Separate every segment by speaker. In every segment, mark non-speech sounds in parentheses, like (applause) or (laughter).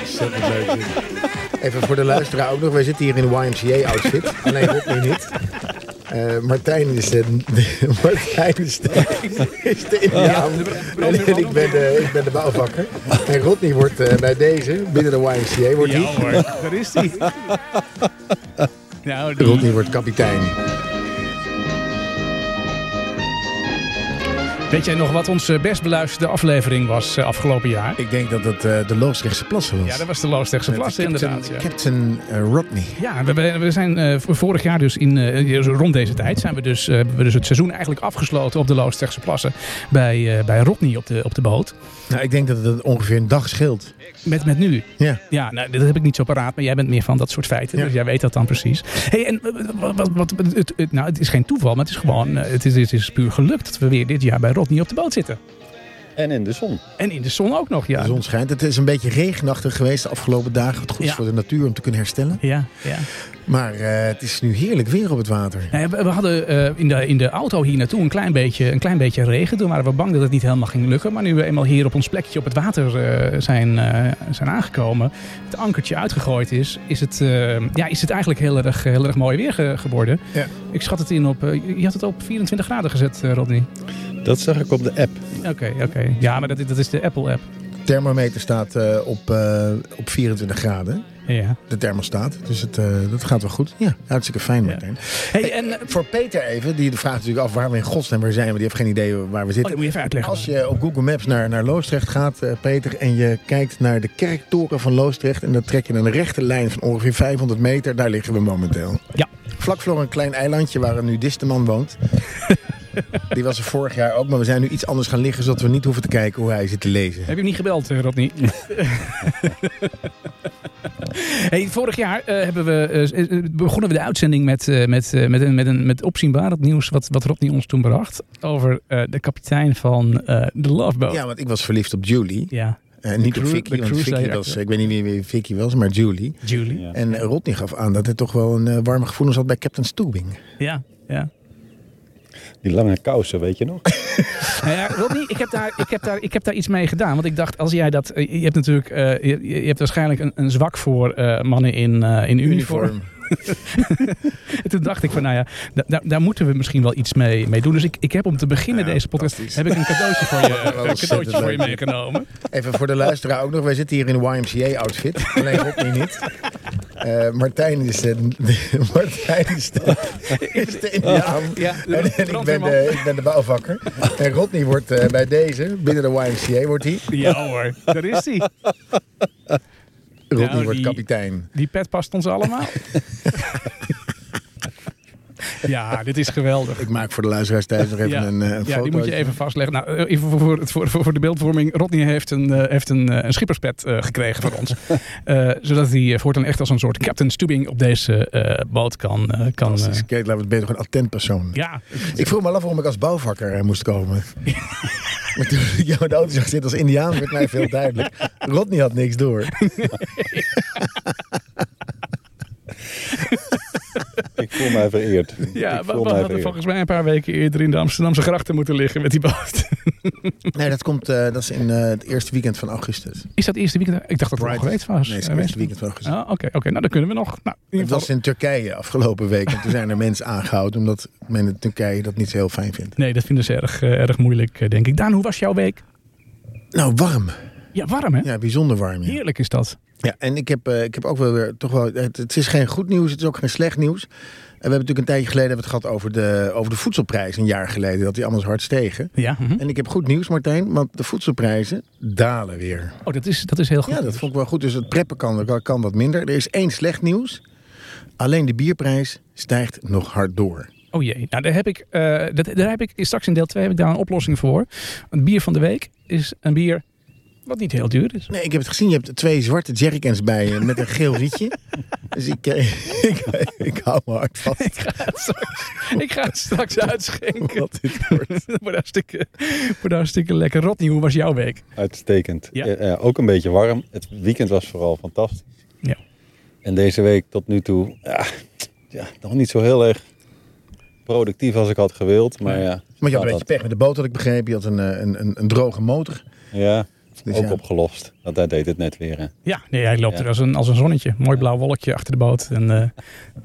Speaker 1: Ontzettend leuk. dit.
Speaker 2: Even voor de luisteraar ook nog. Wij zitten hier in een (laughs) YMCA-outfit. Alleen Rob nu niet. Eh, Martijn is de, (laughs) Martijn is de, is de Indiaan. en ik ben de, ik ben de bouwvakker. En Rodney wordt eh, bij deze, binnen de YMCA, wordt
Speaker 1: Ja
Speaker 2: hij...
Speaker 1: hoor, daar is hij. (laughs) Nou, die-
Speaker 2: Rodney wordt kapitein.
Speaker 3: Weet jij nog wat onze best beluisterde aflevering was eh, afgelopen jaar?
Speaker 2: Ik denk dat dat eh, de Loosrechtse plassen was.
Speaker 3: Ja, dat was de Loosdrechtse Plas inderdaad. Ja.
Speaker 2: Captain eh, Rodney.
Speaker 3: Ja, we- we, we zijn eh, v- vorig jaar dus in, eh, dus rond deze tijd zijn we dus, eh, hebben we dus het seizoen eigenlijk afgesloten op de Loosdrechtse plassen bij, eh, bij Rodney op de, op de boot.
Speaker 2: Nou, ik denk dat het ongeveer een dag scheelt.
Speaker 3: Met, met nu.
Speaker 2: Ja.
Speaker 3: Ja, nou, dat heb ik niet zo paraat, maar jij bent meer van dat soort feiten.
Speaker 2: Ja.
Speaker 3: Dus jij weet dat dan precies. Hey, en eh, wat, wat, wat, het, het- nou, het is geen toeval, maar het is gewoon eh, het is, het is puur geluk dat we weer dit jaar bij Rodney op de boot zitten.
Speaker 4: En in de zon.
Speaker 3: En in de zon ook nog, ja.
Speaker 2: De zon schijnt. Het is een beetje regenachtig geweest de afgelopen dagen. Wat goed is
Speaker 3: Ja.
Speaker 2: voor de natuur om te kunnen herstellen.
Speaker 3: Ja, ja.
Speaker 2: Maar eh, het is nu heerlijk weer op het water.
Speaker 3: Nee, We we hadden eh, in, de, in de auto hier naartoe een klein, beetje, een klein beetje regen. Toen waren we bang dat het niet helemaal ging lukken. Maar nu we eenmaal hier op ons plekje op het water eh, zijn, eh, zijn aangekomen, het ankertje uitgegooid is, is het, eh, ja, is het eigenlijk heel erg, heel erg mooi weer ge- geworden.
Speaker 2: Ja.
Speaker 3: Ik schat het in op. eh, je had het op 24 graden gezet, eh, Rodney.
Speaker 4: Dat zag ik op de app.
Speaker 3: Oké, oké. Ja, maar dat, is- dat is de Apple-app.
Speaker 2: thermometer staat eh, op, eh, op 24 graden.
Speaker 3: Ja.
Speaker 2: De thermostaat. Dus het, eh, dat gaat wel goed. Ja, hartstikke fijn
Speaker 3: Ja.
Speaker 2: Martijn.
Speaker 3: Hey, en. eh,
Speaker 2: Voor Peter even, die vraagt natuurlijk af waar we in godsnaam weer zijn. Maar die heeft geen idee waar we
Speaker 3: Oh, dat
Speaker 2: zitten.
Speaker 3: moet je even uitleggen.
Speaker 2: Als je op Google Maps naar, naar Loosdrecht gaat, eh, Peter, en je kijkt naar de kerktoren van Loosdrecht... en dan trek je een rechte lijn van ongeveer 500 meter, daar liggen we momenteel.
Speaker 3: Ja.
Speaker 2: Vlak voor een klein eilandje waar nu Disteman woont.
Speaker 3: (laughs)
Speaker 2: Die was er vorig jaar ook, maar we zijn nu iets anders gaan liggen... zodat we niet hoeven te kijken hoe hij zit te lezen.
Speaker 3: Heb je hem niet gebeld, eh, Rodney? hey, vorig jaar eh, hebben we, eh, eh, begonnen we de uitzending met, eh, met, eh, met, een, met, een, met opzienbaar het nieuws wat, wat Rodney ons toen bracht. Over eh, de kapitein van eh, de Loveboat.
Speaker 2: Ja, want ik was verliefd op Julie.
Speaker 3: Ja,
Speaker 2: Eh, niet
Speaker 3: De
Speaker 2: op
Speaker 3: cru-
Speaker 2: Vicky,
Speaker 3: de
Speaker 2: want
Speaker 3: cruise
Speaker 2: Vicky
Speaker 3: director.
Speaker 2: was, ik weet niet wie- wie Vicky was, maar Julie.
Speaker 3: Julie.
Speaker 4: Ja.
Speaker 2: En eh, Rodney gaf aan dat hij toch wel een eh, warme gevoelens had bij Captain Stoebing.
Speaker 3: Ja, ja.
Speaker 4: Die lange kousen, weet je nog?
Speaker 3: Nou ja, Rodney, ik heb, daar, ik, heb daar, ik heb daar iets mee gedaan. Want ik dacht, als jij dat. eh, Je hebt natuurlijk. eh, je, je hebt waarschijnlijk een, een zwak voor eh, mannen in, eh, in uniform. En toen dacht ik van, nou ja, da- da- daar moeten we misschien wel iets mee, mee doen. Dus ik, ik heb om te beginnen
Speaker 2: Ja,
Speaker 3: deze podcast,
Speaker 2: fantastisch.
Speaker 3: heb ik een
Speaker 2: (laughs)
Speaker 3: cadeautje voor je,
Speaker 2: wel
Speaker 3: een
Speaker 2: ontzettend
Speaker 3: cadeautje voor je
Speaker 2: leuk.
Speaker 3: meegenomen.
Speaker 2: Even voor de luisteraar ook nog. Wij zitten hier in een YMCA-outfit. Alleen Rodney niet. Eh, Martijn is de, Martijn is de, is de Indiaan.
Speaker 3: (laughs) Ja, de
Speaker 2: en, en ik, ben
Speaker 3: brandweerman.
Speaker 2: de, ik ben de bouwvakker. En Rodney wordt eh, bij deze, binnen de YMCA wordt hij.
Speaker 3: Ja hoor, daar is hij.
Speaker 2: Rodney
Speaker 3: Nou,
Speaker 2: wordt
Speaker 3: die-
Speaker 2: kapitein.
Speaker 3: Die pet past ons allemaal.
Speaker 2: (laughs)
Speaker 3: Ja, dit is geweldig.
Speaker 2: Ik maak voor de luisteraars thuis nog even
Speaker 3: Ja.
Speaker 2: een, eh, een
Speaker 3: Ja, die moet je
Speaker 2: fotootje.
Speaker 3: even vastleggen. Nou, eh, even voor, voor, voor, voor voor de beeldvorming. Rodney heeft een, eh, heeft een, eh, een schipperspet eh, gekregen van
Speaker 2: (laughs)
Speaker 3: ons. Eh, zodat hij eh, voortaan echt als een soort Captain Stubing op deze eh, boot kan... eh, kan eh,
Speaker 2: Fantastisch. Kijk, laten we het beter gewoon attent persoon.
Speaker 3: ja,
Speaker 2: Ik vroeg me al af waarom ik als bouwvakker eh, moest
Speaker 3: (laughs)
Speaker 2: komen. maar toen ik jou in de auto zag zitten als indiaan, werd mij veel duidelijk. Rodney had niks door.
Speaker 4: Ik voel mij vereerd.
Speaker 3: (laughs) Ja,
Speaker 4: ik
Speaker 3: we, we
Speaker 4: voel mij
Speaker 3: hadden
Speaker 4: vereerd.
Speaker 3: volgens mij een paar weken eerder in de Amsterdamse grachten moeten liggen met die boot. (laughs)
Speaker 2: Nee, dat, komt, eh, dat is in eh, het eerste weekend van augustus.
Speaker 3: Is dat eerste weekend? Ik dacht dat het
Speaker 2: Pride.
Speaker 3: nog geweest was.
Speaker 2: Nee, het is het
Speaker 3: Eh, West-
Speaker 2: eerste weekend van augustus.
Speaker 3: Ah, Oké, oké. nou dan kunnen we nog. Nou, in
Speaker 2: Het
Speaker 3: ieder
Speaker 2: was
Speaker 3: geval...
Speaker 2: in Turkije afgelopen week. En toen zijn er mensen aangehouden omdat men in Turkije dat niet zo heel fijn vindt.
Speaker 3: Nee, dat vinden ze erg, eh, erg moeilijk, eh, denk ik. Daan, hoe was jouw week?
Speaker 2: Nou, warm.
Speaker 3: Ja, warm hè?
Speaker 2: Ja, bijzonder warm. Ja,
Speaker 3: Heerlijk is dat.
Speaker 2: ja en ik heb, eh, ik heb ook wel weer toch wel. Het, het is geen goed nieuws, het is ook geen slecht nieuws. En we hebben natuurlijk een tijdje geleden hebben we het gehad over de, over de voedselprijs. Een jaar geleden, dat die anders hard stegen.
Speaker 3: Ja. mhm.
Speaker 2: En ik heb goed nieuws, Martijn, want de voedselprijzen dalen weer.
Speaker 3: Oh, dat is, dat is heel goed.
Speaker 2: Ja, dat vond ik wel goed. Dus het preppen kan, kan- kan wat minder. Er is één slecht nieuws. Alleen de bierprijs stijgt nog hard door.
Speaker 3: Oh jee. Nou, daar heb ik, eh, dat, daar heb ik straks in deel 2 heb ik daar een oplossing voor. Het bier van de week is een bier wat niet heel duur
Speaker 2: (laughs)
Speaker 3: is. (laughs)
Speaker 2: Nee, ik heb het gezien. Je hebt twee zwarte jerrycans bij je met een geel rietje.
Speaker 3: (laughs)
Speaker 2: Dus ik, eh, (laughs) ik, ik hou me hard vast.
Speaker 3: Ik ga het straks, ik ga het
Speaker 2: (laughs)
Speaker 3: straks uitschenken. (laughs)
Speaker 2: Wat dit wordt.
Speaker 3: Dat wordt hartstikke, wordt hartstikke lekker. Rodney, hoe was jouw week?
Speaker 4: Uitstekend.
Speaker 3: Ja.
Speaker 4: Eh, eh, ook een beetje warm. Het weekend was vooral fantastisch.
Speaker 3: Ja.
Speaker 4: En deze week tot nu toe, ja, ja, nog niet zo heel erg productief als ik had gewild. Maar ja,
Speaker 2: Maar je had
Speaker 4: gaat
Speaker 2: een beetje pech met de boot, had ik begrepen. Je had een, eh, een, een, een droge motor.
Speaker 4: dat. Ja,
Speaker 2: Dus
Speaker 4: ook
Speaker 2: ja.
Speaker 4: opgelost. Want daar deed het net weer. hè.
Speaker 3: Ja, nee, hij loopt
Speaker 4: Ja.
Speaker 3: er als een, als een zonnetje. Mooi blauw wolkje achter de boot. En eh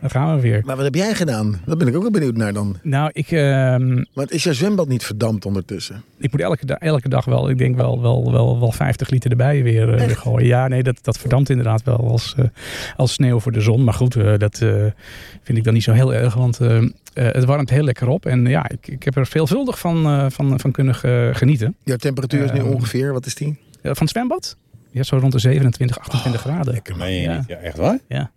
Speaker 3: dan gaan we weer.
Speaker 2: Maar wat heb jij gedaan? Daar ben ik ook wel benieuwd naar dan.
Speaker 3: Nou, ik, ehm,
Speaker 2: Want is jouw zwembad niet verdampt ondertussen?
Speaker 3: ik moet elke, da- elke dag wel, ik denk wel, wel, wel, wel 50 liter erbij weer, eh, weer gooien. Ja, nee, dat, dat verdampt inderdaad wel als, eh, als sneeuw voor de zon. Maar goed, eh, dat eh, vind ik dan niet zo heel erg. Want eh, eh, het warmt heel lekker op. En ja, ik, ik heb er veelvuldig van, eh, van, van kunnen ge- genieten.
Speaker 2: Jouw temperatuur is nu
Speaker 3: Ehm,
Speaker 2: ongeveer, wat is die?
Speaker 3: Eh, van het zwembad? Ja, zo rond de 27, 28 graden.
Speaker 4: Meen je
Speaker 3: Ja.
Speaker 4: niet? Ja, echt waar?
Speaker 3: Ja.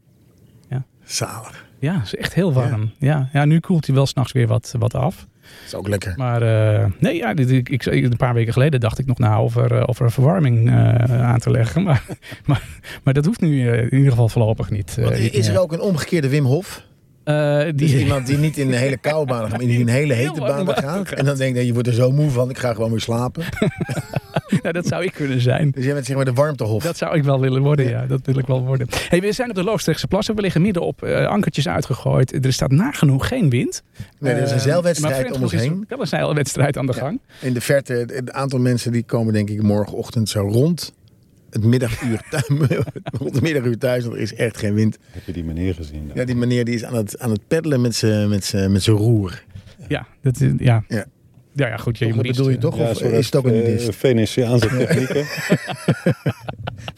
Speaker 2: Zalig.
Speaker 3: ja, is echt heel warm. Ja, ja. nu koelt hij wel s'nachts weer wat, wat af.
Speaker 2: Dat is ook lekker.
Speaker 3: Maar eh, nee, ja, dit- ik, ik, een paar weken geleden dacht ik nog na over, eh, over een verwarming eh, aan te leggen. (laughs) Maar, maar, maar dat hoeft nu eh, in ieder geval voorlopig niet. eh,
Speaker 2: Want
Speaker 3: niet
Speaker 2: is er
Speaker 3: meer.
Speaker 2: ook een omgekeerde Wim Hof?
Speaker 3: Eh,
Speaker 2: Dus
Speaker 3: die,
Speaker 2: iemand die niet in een hele koude baan gaat, maar die in een hele hete baan gaat. En dan denkt hij, je wordt er zo moe van, ik ga gewoon weer slapen.
Speaker 3: (laughs) nou, dat zou ik kunnen zijn.
Speaker 2: Dus jij bent zeg maar de warmtehof.
Speaker 3: Dat zou ik wel willen worden, ja. Dat wil ik wel worden. Hey, we zijn op de Loosdrechtse plassen. We liggen midden op eh, ankertjes uitgegooid. Er staat nagenoeg geen wind.
Speaker 2: Nee, er is een
Speaker 3: Eh, maar
Speaker 2: zeilwedstrijd
Speaker 3: French
Speaker 2: om ons
Speaker 3: Hoek is
Speaker 2: heen.
Speaker 3: Wel een zeilwedstrijd aan de
Speaker 2: Ja.
Speaker 3: gang.
Speaker 2: In de verte, het- het aantal mensen die komen denk ik morgenochtend zo rond het middaguur (laughs) thuis. rond het middaguur thuis, want er is echt geen wind.
Speaker 4: Heb je die meneer gezien?
Speaker 2: Ja, die meneer die is aan het, aan het peddelen met zijn met z'n- met z'n roer.
Speaker 3: Ja, dat is, ja.
Speaker 2: Ja.
Speaker 3: Ja, ja, goed. Ja, je
Speaker 2: Dat
Speaker 3: moet iets-
Speaker 2: bedoel je toch?
Speaker 4: Ja,
Speaker 2: of
Speaker 4: soort
Speaker 2: is het ook een
Speaker 4: eh,
Speaker 2: nudist?
Speaker 4: Venetiaanse technieken.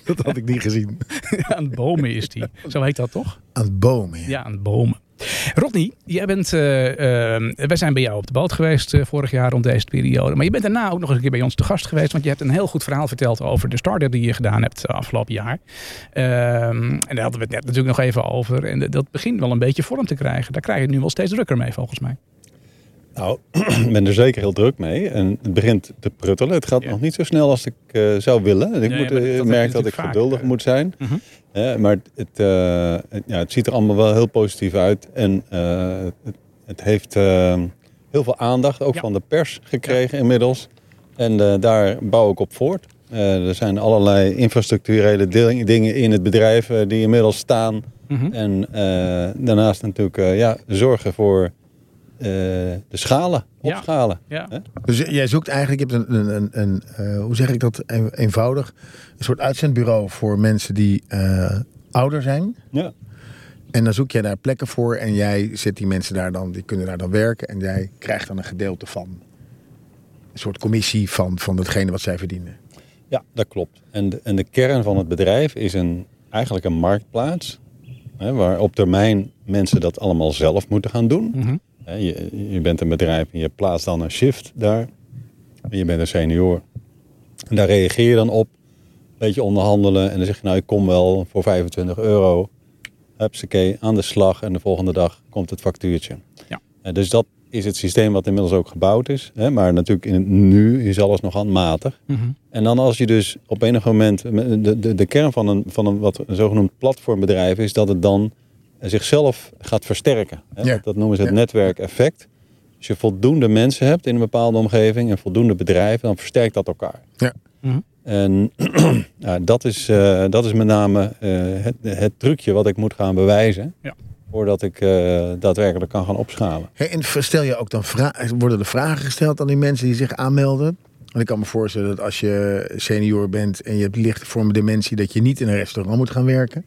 Speaker 2: Dat had ik niet gezien.
Speaker 3: (laughs) aan het bomen is die. Zo heet dat toch?
Speaker 2: Aan het bomen. ja.
Speaker 3: Ja, aan het bomen. Rodney, jij bent, eh, eh, wij zijn bij jou op de boot geweest eh, vorig jaar rond deze periode. Maar je bent daarna ook nog eens een keer bij ons te gast geweest. Want je hebt een heel goed verhaal verteld over de start-up die je gedaan hebt eh, afgelopen jaar. Ehm, en daar hadden we het net natuurlijk nog even over. En dat- dat begint wel een beetje vorm te krijgen. Daar krijg je het nu wel steeds drukker mee volgens mij.
Speaker 4: Nou, (clears throat) ik ben er zeker heel druk mee. En het begint te pruttelen. Het gaat
Speaker 3: Ja.
Speaker 4: nog niet zo snel als ik eh, zou willen. En ik
Speaker 3: ja,
Speaker 4: moet,
Speaker 3: maar dat-
Speaker 4: eh,
Speaker 3: dat heb je
Speaker 4: merk dat ik
Speaker 3: natuurlijk vaak,
Speaker 4: geduldig
Speaker 3: eh.
Speaker 4: moet zijn.
Speaker 3: Mhm.
Speaker 4: Eh, maar het, eh, het- ja, het ziet er allemaal wel heel positief uit. En eh, het, het heeft eh, heel veel aandacht, ook
Speaker 3: Ja.
Speaker 4: van de pers gekregen inmiddels. En eh, daar bouw ik op voort. Eh, er zijn allerlei infrastructurele ding- dingen in het bedrijf eh, die inmiddels staan.
Speaker 3: Mhm.
Speaker 4: En eh, daarnaast natuurlijk eh, ja, zorgen voor eh, de schalen,
Speaker 3: Ja.
Speaker 4: opschalen.
Speaker 3: Ja.
Speaker 2: Dus jij zoekt eigenlijk, je hebt een, een, een, een, eh, hoe zeg ik dat een- eenvoudig, een soort uitzendbureau voor mensen die eh, ouder zijn.
Speaker 4: Ja.
Speaker 2: En dan zoek jij daar plekken voor en jij zet die mensen daar dan, die kunnen daar dan werken en jij krijgt dan een gedeelte van. Een soort commissie van, van datgene wat zij verdienen.
Speaker 4: Ja, dat klopt. En de, en de kern van het bedrijf is een, eigenlijk een marktplaats. Hè, waar op termijn mensen dat allemaal zelf moeten gaan doen.
Speaker 3: Mhm.
Speaker 4: Hè, je, je bent een bedrijf en je plaatst dan een shift daar. En je bent een senior. En daar reageer je dan op. Een beetje onderhandelen. En dan zeg je, nou ik kom wel voor 25 euro. Hupsakee, aan de slag. En de volgende dag komt het factuurtje.
Speaker 3: Ja.
Speaker 4: Eh, dus dat is het systeem wat inmiddels ook gebouwd is. Hè, maar natuurlijk in het nu is alles nog handmatig.
Speaker 3: Mhm.
Speaker 4: En dan als je dus op enig moment, de, de, de kern van een, van een wat een zogenoemd platformbedrijf is dat het dan eh, zichzelf gaat versterken. Hè?
Speaker 2: Ja.
Speaker 4: Dat, dat noemen ze het
Speaker 2: Ja.
Speaker 4: netwerkeffect. Als je voldoende mensen hebt in een bepaalde omgeving en voldoende bedrijven, dan versterkt dat elkaar.
Speaker 2: Ja.
Speaker 3: Mhm.
Speaker 4: En (clears throat) ja, dat, is, eh, dat is met name eh, het, het trucje wat ik moet gaan bewijzen.
Speaker 3: Ja.
Speaker 4: Voordat ik eh, daadwerkelijk kan gaan opschalen.
Speaker 2: Hey, en stel je ook dan vra- worden er vragen gesteld aan die mensen die zich aanmelden? Want ik kan me voorstellen dat als je senior bent en je hebt lichte vormen dementie, dat je niet in een restaurant moet gaan werken.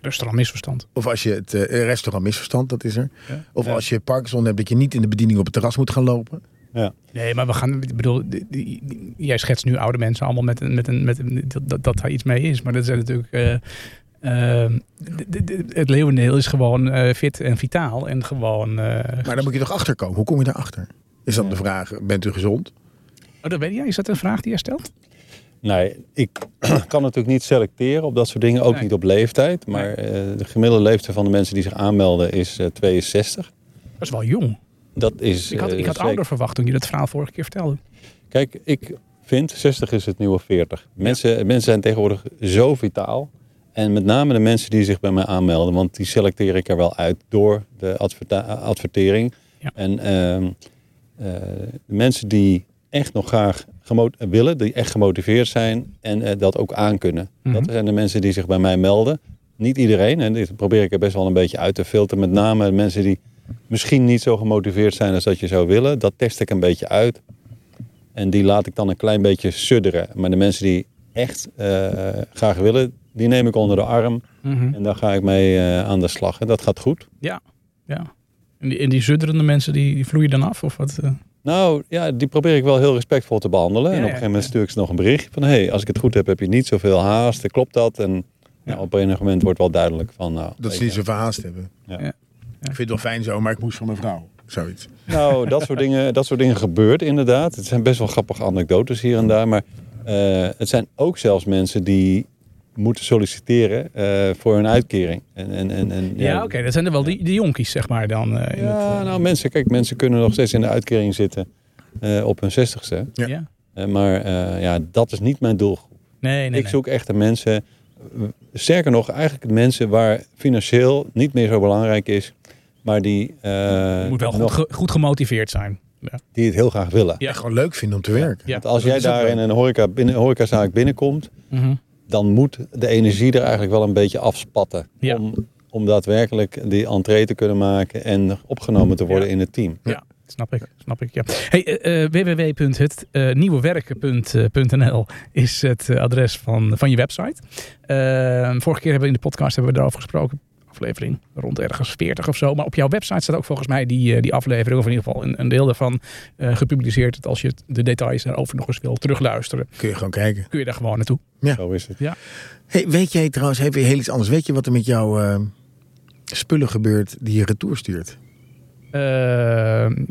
Speaker 3: Dus er al misverstand.
Speaker 2: Of als je het eh, restaurant misverstand, dat is er.
Speaker 3: Ja.
Speaker 2: Of
Speaker 4: Ja.
Speaker 2: als je Parkinson hebt, dat je niet in de bediening op het terras moet gaan lopen.
Speaker 4: Ja.
Speaker 3: Nee, maar we gaan. Ik bedoel, die- die- die- jij schetst nu oude mensen allemaal met een. Met een, met een dat, dat, dat daar iets mee is. Maar dat zijn natuurlijk. eh, eh, d- d- d- het leeuwendeel is gewoon eh, fit en vitaal. En gewoon. eh,
Speaker 2: Maar dan moet je toch achterkomen. Hoe kom je daarachter? Is dan de vraag, bent u gezond?
Speaker 3: oh, dat weet jij. Is dat een vraag die jij stelt?
Speaker 4: Nee, ik (clears throat) kan natuurlijk niet selecteren op dat soort dingen, ook
Speaker 3: Nee.
Speaker 4: niet op leeftijd. Maar eh, de gemiddelde leeftijd van de mensen die zich aanmelden is eh, 62.
Speaker 3: Dat is wel jong.
Speaker 4: Dat is.
Speaker 3: Ik had,
Speaker 4: eh,
Speaker 3: ik had
Speaker 4: zeker-
Speaker 3: ouder verwacht toen je dat verhaal vorige keer vertelde.
Speaker 4: Kijk, ik vind 60 is het nieuwe 40. Mensen, mensen zijn tegenwoordig zo vitaal. En met name de mensen die zich bij mij aanmelden, want die selecteer ik er wel uit door de adverta- advertering.
Speaker 3: Ja.
Speaker 4: En ehm, eh, de mensen die echt nog graag gemo- willen, die echt gemotiveerd zijn en eh, dat ook aankunnen.
Speaker 3: Mhm.
Speaker 4: Dat zijn de mensen die zich bij mij melden. Niet iedereen, en dit probeer ik er best wel een beetje uit te filteren. Met name de mensen die misschien niet zo gemotiveerd zijn als dat je zou willen. Dat test ik een beetje uit. En die laat ik dan een klein beetje sudderen. Maar de mensen die echt eh, graag willen, die neem ik onder de arm.
Speaker 3: Mhm.
Speaker 4: En daar ga ik mee eh, aan de slag. En dat gaat goed.
Speaker 3: Ja, ja. En die, en die zudderende mensen, die, die vloeien dan af? Of wat? eh?
Speaker 4: Nou, ja, die probeer ik wel heel respectvol te behandelen.
Speaker 3: Ja,
Speaker 4: en op
Speaker 3: ja,
Speaker 4: een gegeven moment
Speaker 3: ja.
Speaker 4: stuur ik ze nog een bericht van... hé, hey, als ik het goed heb, heb je niet zoveel haast. eh, Klopt dat? En nou, op een gegeven moment wordt wel duidelijk van... Nou,
Speaker 2: Dat ze
Speaker 4: weet
Speaker 2: niet
Speaker 4: je,
Speaker 2: zo verhaast hebben.
Speaker 4: Ja.
Speaker 3: Ja.
Speaker 2: Ik vind het wel fijn zo, maar ik moest van mijn vrouw. Zoiets.
Speaker 4: Nou, dat soort, dingen, dat soort dingen gebeurt inderdaad. Het zijn best wel grappige anekdotes hier en daar. Maar eh, het zijn ook zelfs mensen die moeten solliciteren eh, voor hun uitkering. En, en, en, en,
Speaker 3: Ja, oké. dat zijn er wel die, die jonkies, zeg maar, dan. eh, in het,
Speaker 4: Ja,
Speaker 3: eh,
Speaker 4: nou mensen, kijk, mensen kunnen nog steeds in de uitkering zitten eh, op hun zestigste.
Speaker 2: ja.
Speaker 3: ja.
Speaker 4: Eh, maar eh, ja, dat is niet mijn doelgroep.
Speaker 3: Nee, nee,
Speaker 4: ik zoek echt de mensen, eh, sterker nog, eigenlijk de mensen waar financieel niet meer zo belangrijk is, maar die, eh,
Speaker 3: nee. Moet wel goed,
Speaker 4: nog,
Speaker 3: ge- goed gemotiveerd zijn. Ja.
Speaker 4: die het heel graag willen.
Speaker 3: Ja.
Speaker 2: Echt gewoon leuk vinden om te werken.
Speaker 3: Ja.
Speaker 4: Want als jij
Speaker 2: is ook
Speaker 4: daar
Speaker 2: wel.
Speaker 4: in een horeca, binnen, horecazaak binnenkomt,
Speaker 3: Mhm.
Speaker 4: dan moet de energie er eigenlijk wel een beetje afspatten.
Speaker 3: Ja.
Speaker 4: Om, om daadwerkelijk die entree te kunnen maken en opgenomen te worden
Speaker 3: Ja.
Speaker 4: in het team.
Speaker 3: Ja, snap ik. Snap ik ja. hey, eh, eh, www.hetnieuwewerken.nl is het eh, adres van, van je website. Eh, vorige keer hebben we in de podcast hebben we erover gesproken. Aflevering rond ergens 40 of zo. Maar op jouw website staat ook volgens mij die, eh, die aflevering, of in ieder geval een, een deel daarvan, eh, gepubliceerd. Dat als je de details daarover nog eens wil terugluisteren,
Speaker 2: Kun je gewoon kijken.
Speaker 3: kun je daar gewoon naartoe.
Speaker 4: Zo is het.
Speaker 2: Hey, weet jij trouwens, even heel iets anders. Weet je wat er met jouw eh, spullen gebeurt die je retour stuurt?
Speaker 3: Eh,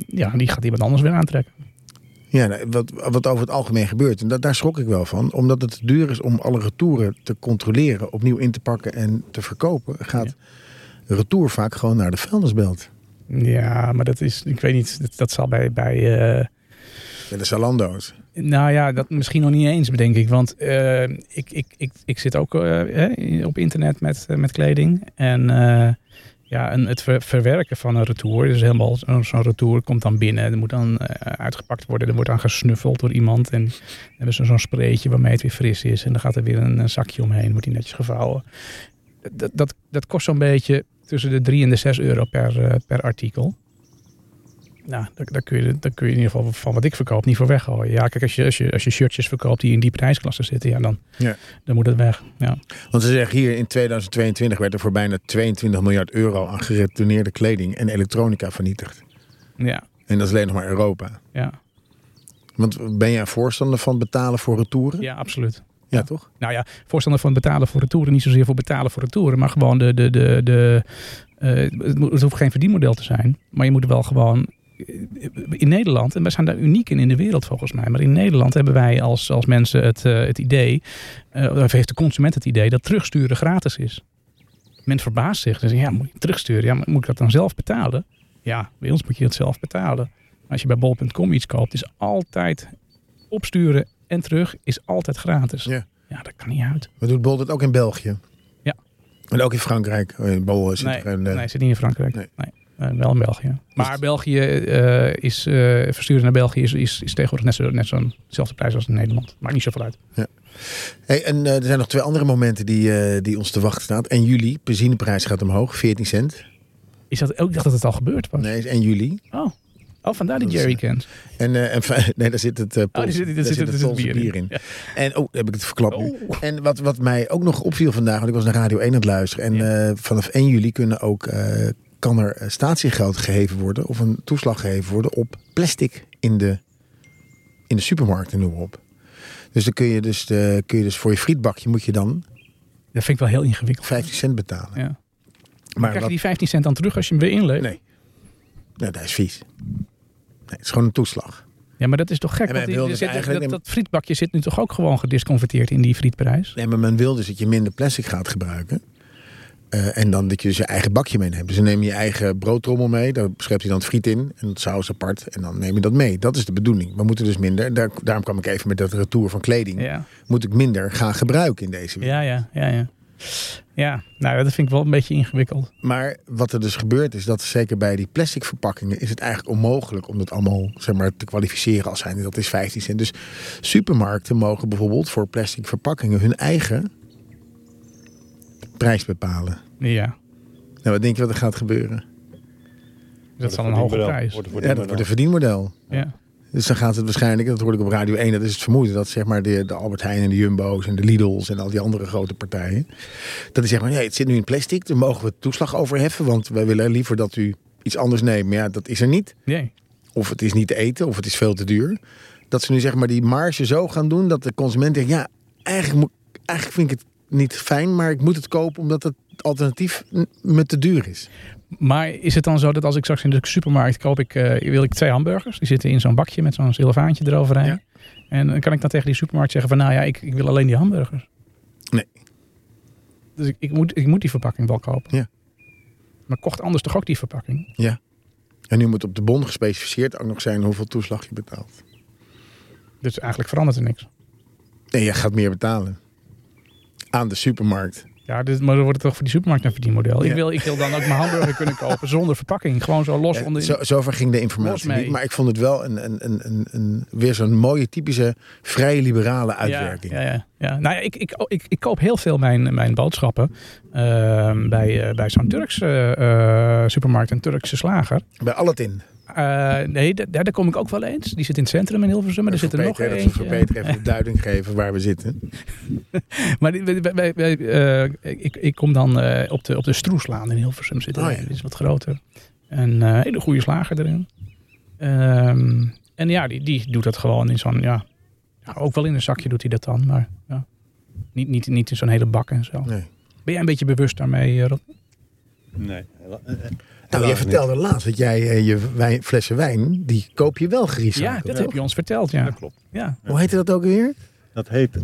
Speaker 3: ja, die gaat iemand anders weer aantrekken.
Speaker 2: Ja, nou, wat, wat over het algemeen gebeurt. En dat, daar schrok ik wel van. Omdat het te duur is om alle retouren te controleren, opnieuw in te pakken en te verkopen, gaat retour vaak gewoon naar de vuilnisbelt.
Speaker 3: Ja, maar dat is, ik weet niet, dat, dat zal bij, bij eh,
Speaker 2: Ja, de Zalando's.
Speaker 3: Nou ja, dat misschien nog niet eens, bedenk ik. Want eh, ik, ik, ik, ik zit ook eh, hè, op internet met, eh, met kleding. En eh, ja, en het ver- verwerken van een retour. Dus helemaal zo'n zo'n retour komt dan binnen. Er moet dan eh, uitgepakt worden. Er wordt aan gesnuffeld door iemand. En dan hebben ze zo'n spreetje waarmee het weer fris is. En dan gaat er weer een, eh, zakje omheen. Wordt die netjes gevouwen. Dat, dat, dat kost zo'n beetje tussen de 3 en de 6 euro per, eh, per artikel. Nou, daar, daar, kun je, daar kun je in ieder geval van wat ik verkoop niet voor weggooien. Ja, kijk, als je, als je, als je shirtjes verkoopt die in die prijsklasse zitten, ja, dan,
Speaker 2: Ja.
Speaker 3: dan moet het weg. Ja.
Speaker 2: Want ze zeggen hier in 2022 werd er voor bijna 22 miljard euro aan geretourneerde kleding en elektronica vernietigd.
Speaker 3: Ja,
Speaker 2: En dat is alleen nog maar Europa.
Speaker 3: ja,
Speaker 2: Want ben jij voorstander van betalen voor retouren?
Speaker 3: ja, absoluut.
Speaker 2: ja toch?
Speaker 3: Nou ja, voorstander van betalen voor retouren. Niet zozeer voor betalen voor retouren, maar gewoon de... de, de, de eh, het, moet- het hoeft geen verdienmodel te zijn. Maar je moet wel gewoon... eh, In Nederland, en wij zijn daar uniek in in de wereld volgens mij. Maar in Nederland hebben wij als, als mensen het, eh, het idee... eh, of heeft de consument het idee dat terugsturen gratis is. Men verbaast zich. Ze zeggen, ja, moet je terugsturen? Ja, maar moet ik dat dan zelf betalen? Ja, bij ons moet je het zelf betalen. Als je bij bol.com iets koopt, is altijd opsturen en terug is altijd gratis.
Speaker 2: Ja.
Speaker 3: Ja, dat kan niet uit.
Speaker 2: Maar doet Bol dat ook in België?
Speaker 3: Ja.
Speaker 2: En ook in Frankrijk? Eh, Bol zit
Speaker 3: Nee,
Speaker 2: er een, eh,
Speaker 3: nee, zit niet in Frankrijk. Nee.
Speaker 2: Nee.
Speaker 3: Eh, wel in België. Maar België eh, is, eh, versturen naar België is, is, is tegenwoordig net, zo, net zo'n zelfde prijs als in Nederland. Maakt niet zoveel uit.
Speaker 2: Hey, en eh, er zijn nog twee andere momenten die, eh, die ons te wachten staan. 1 juli, benzineprijs gaat omhoog, 14 cent.
Speaker 3: Is dat ook? Ik dacht dat het al gebeurd was.
Speaker 2: Nee, is 1 juli.
Speaker 3: Oh. oh, vandaar die
Speaker 2: Dat is,
Speaker 3: Jerry
Speaker 2: eh,
Speaker 3: kent.
Speaker 2: En, eh, en fi- (laughs) nee, daar zit het, eh Pols-
Speaker 3: daar Oh, zit- daar
Speaker 2: daar
Speaker 3: zit-
Speaker 2: zit
Speaker 3: daar
Speaker 2: het
Speaker 3: zit
Speaker 2: Poolse
Speaker 3: bier in. Oh.
Speaker 2: bier in. En oh, heb ik het verklapt nu. En wat, wat mij ook nog opviel vandaag, want ik was naar Radio 1 aan het luisteren. En eh, vanaf 1 juli kunnen ook, eh, kan er eh, statiegeld gegeven worden of een toeslag gegeven worden op plastic in de, in de supermarkt en noem maar op. Dus dan kun je dus, eh, kun je dus voor je frietbakje moet je dan
Speaker 3: Dat vind ik wel heel ingewikkeld.
Speaker 2: 15 cent betalen.
Speaker 3: Ja.
Speaker 2: Maar
Speaker 3: Krijg
Speaker 2: dat,
Speaker 3: je die 15 cent dan terug als je hem weer inlevert?
Speaker 2: Nee. nou, dat is vies. Nee, het is gewoon een toeslag.
Speaker 3: Ja, maar dat is toch gek?
Speaker 2: En
Speaker 3: Want
Speaker 2: wij
Speaker 3: die-
Speaker 2: wilden
Speaker 3: er
Speaker 2: het dus
Speaker 3: zit-
Speaker 2: eigenlijk
Speaker 3: dat,
Speaker 2: in-
Speaker 3: dat frietbakje zit nu toch ook gewoon gedisconverteerd in die frietprijs?
Speaker 2: Nee, maar men wil dus dat je minder plastic gaat gebruiken. Eh, en dan dat je dus je eigen bakje meeneemt. Dus dan neem je je eigen broodtrommel mee. Daar schept je dan het friet in. En het saus apart. En dan neem je dat mee. Dat is de bedoeling. We moeten dus minder. en Daar, daarom kwam ik even met dat retour van kleding.
Speaker 3: Ja.
Speaker 2: Moet ik minder gaan gebruiken in deze wereld.
Speaker 3: Ja, ja, ja, ja. Ja, nou, dat vind ik wel een beetje ingewikkeld.
Speaker 2: Maar wat er dus gebeurt is dat zeker bij die plastic verpakkingen is het eigenlijk onmogelijk om dat allemaal zeg maar, te kwalificeren als zijn. Dat is 15 cent. Dus supermarkten mogen bijvoorbeeld voor plastic verpakkingen hun eigen prijs bepalen.
Speaker 3: Ja,
Speaker 2: Nou, wat denk je wat er gaat gebeuren?
Speaker 3: dat is dan een hoge prijs.
Speaker 2: Ja, dat wordt een verdienmodel.
Speaker 3: Ja.
Speaker 2: Dus dan gaat het waarschijnlijk, en dat hoorde ik op Radio 1, dat is het vermoeden, dat zeg maar de, de Albert Heijn en de Jumbo's en de Lidl's en al die andere grote partijen, dat die zeggen, maar, nee, het zit nu in plastic, daar mogen we toeslag over heffen, want wij willen liever dat u iets anders neemt. Maar ja, dat is er niet.
Speaker 3: Nee.
Speaker 2: Of het is niet te eten, of het is veel te duur. Dat ze nu zeg maar die marge zo gaan doen, dat de consument denkt, ja, eigenlijk, moet, eigenlijk vind ik het niet fijn, maar ik moet het kopen omdat het alternatief n- me te duur is.
Speaker 3: Maar is het dan zo dat als ik straks in de supermarkt koop, ik, eh, wil ik twee hamburgers? Die zitten in zo'n bakje met zo'n silvaantje eroverheen.
Speaker 2: Ja.
Speaker 3: En dan kan ik dan tegen die supermarkt zeggen van nou ja, ik, ik wil alleen die hamburgers.
Speaker 2: Nee.
Speaker 3: Dus ik, ik, moet, ik moet die verpakking wel kopen.
Speaker 2: Ja.
Speaker 3: Maar kocht anders toch ook die verpakking?
Speaker 2: Ja. En nu moet op de bon gespecificeerd ook nog zijn hoeveel toeslag je betaalt.
Speaker 3: Dus eigenlijk verandert er niks.
Speaker 2: Nee, je gaat meer betalen. Aan de supermarkt.
Speaker 3: Ja, dit, maar dan wordt het toch voor die supermarkt een verdienmodel.
Speaker 2: Ja.
Speaker 3: Ik, wil, ik wil dan ook mijn hamburger kunnen kopen zonder verpakking. Gewoon zo los.
Speaker 2: Ja,
Speaker 3: onder...
Speaker 2: zo, zover ging de informatie
Speaker 3: Los mee.
Speaker 2: niet. Maar ik vond het wel een, een, een, een, een- weer zo'n mooie, typische vrij liberale uitwerking.
Speaker 3: Ja, ja, ja, ja. Nou ja, ik, ik, ik, ik koop heel veel mijn, mijn boodschappen ehm, bij, eh, bij zo'n Turkse eh, supermarkt, een Turkse slager.
Speaker 2: Bij Alatin.
Speaker 3: Eh, nee, da- daar, daar kom ik ook wel eens. Die zit in het centrum in Hilversum, maar er zit er nog
Speaker 2: Even voor
Speaker 3: eentje.
Speaker 2: Peter even de duiding geven waar we
Speaker 3: (laughs)
Speaker 2: zitten.
Speaker 3: Maar die- wij- wij- wij- eh, ik, ik kom dan eh, op de, op de Stroeslaan in Hilversum zitten.
Speaker 2: Oh
Speaker 3: Oh,
Speaker 2: ja.
Speaker 3: is wat groter. En eh hele goede slager erin. Ehm, en ja, die, die doet dat gewoon in zo'n, ja, ja, ook wel in een zakje doet hij dat dan. Maar ja, niet, niet, niet in zo'n hele bak en zo.
Speaker 2: Nee.
Speaker 3: Ben jij een beetje bewust daarmee, eh, Rob?
Speaker 4: Nee. hela- eh, eh,
Speaker 2: Nou,
Speaker 4: helaas
Speaker 2: jij
Speaker 4: niet.
Speaker 2: vertelde laatst dat jij eh, je wijn, flessen wijn, die koop je wel gerecycled.
Speaker 3: Ja, dat
Speaker 2: toch?
Speaker 3: heb je ons verteld, ja.
Speaker 4: Dat klopt.
Speaker 3: Ja,
Speaker 2: Hoe heette dat ook weer?
Speaker 4: Dat heet...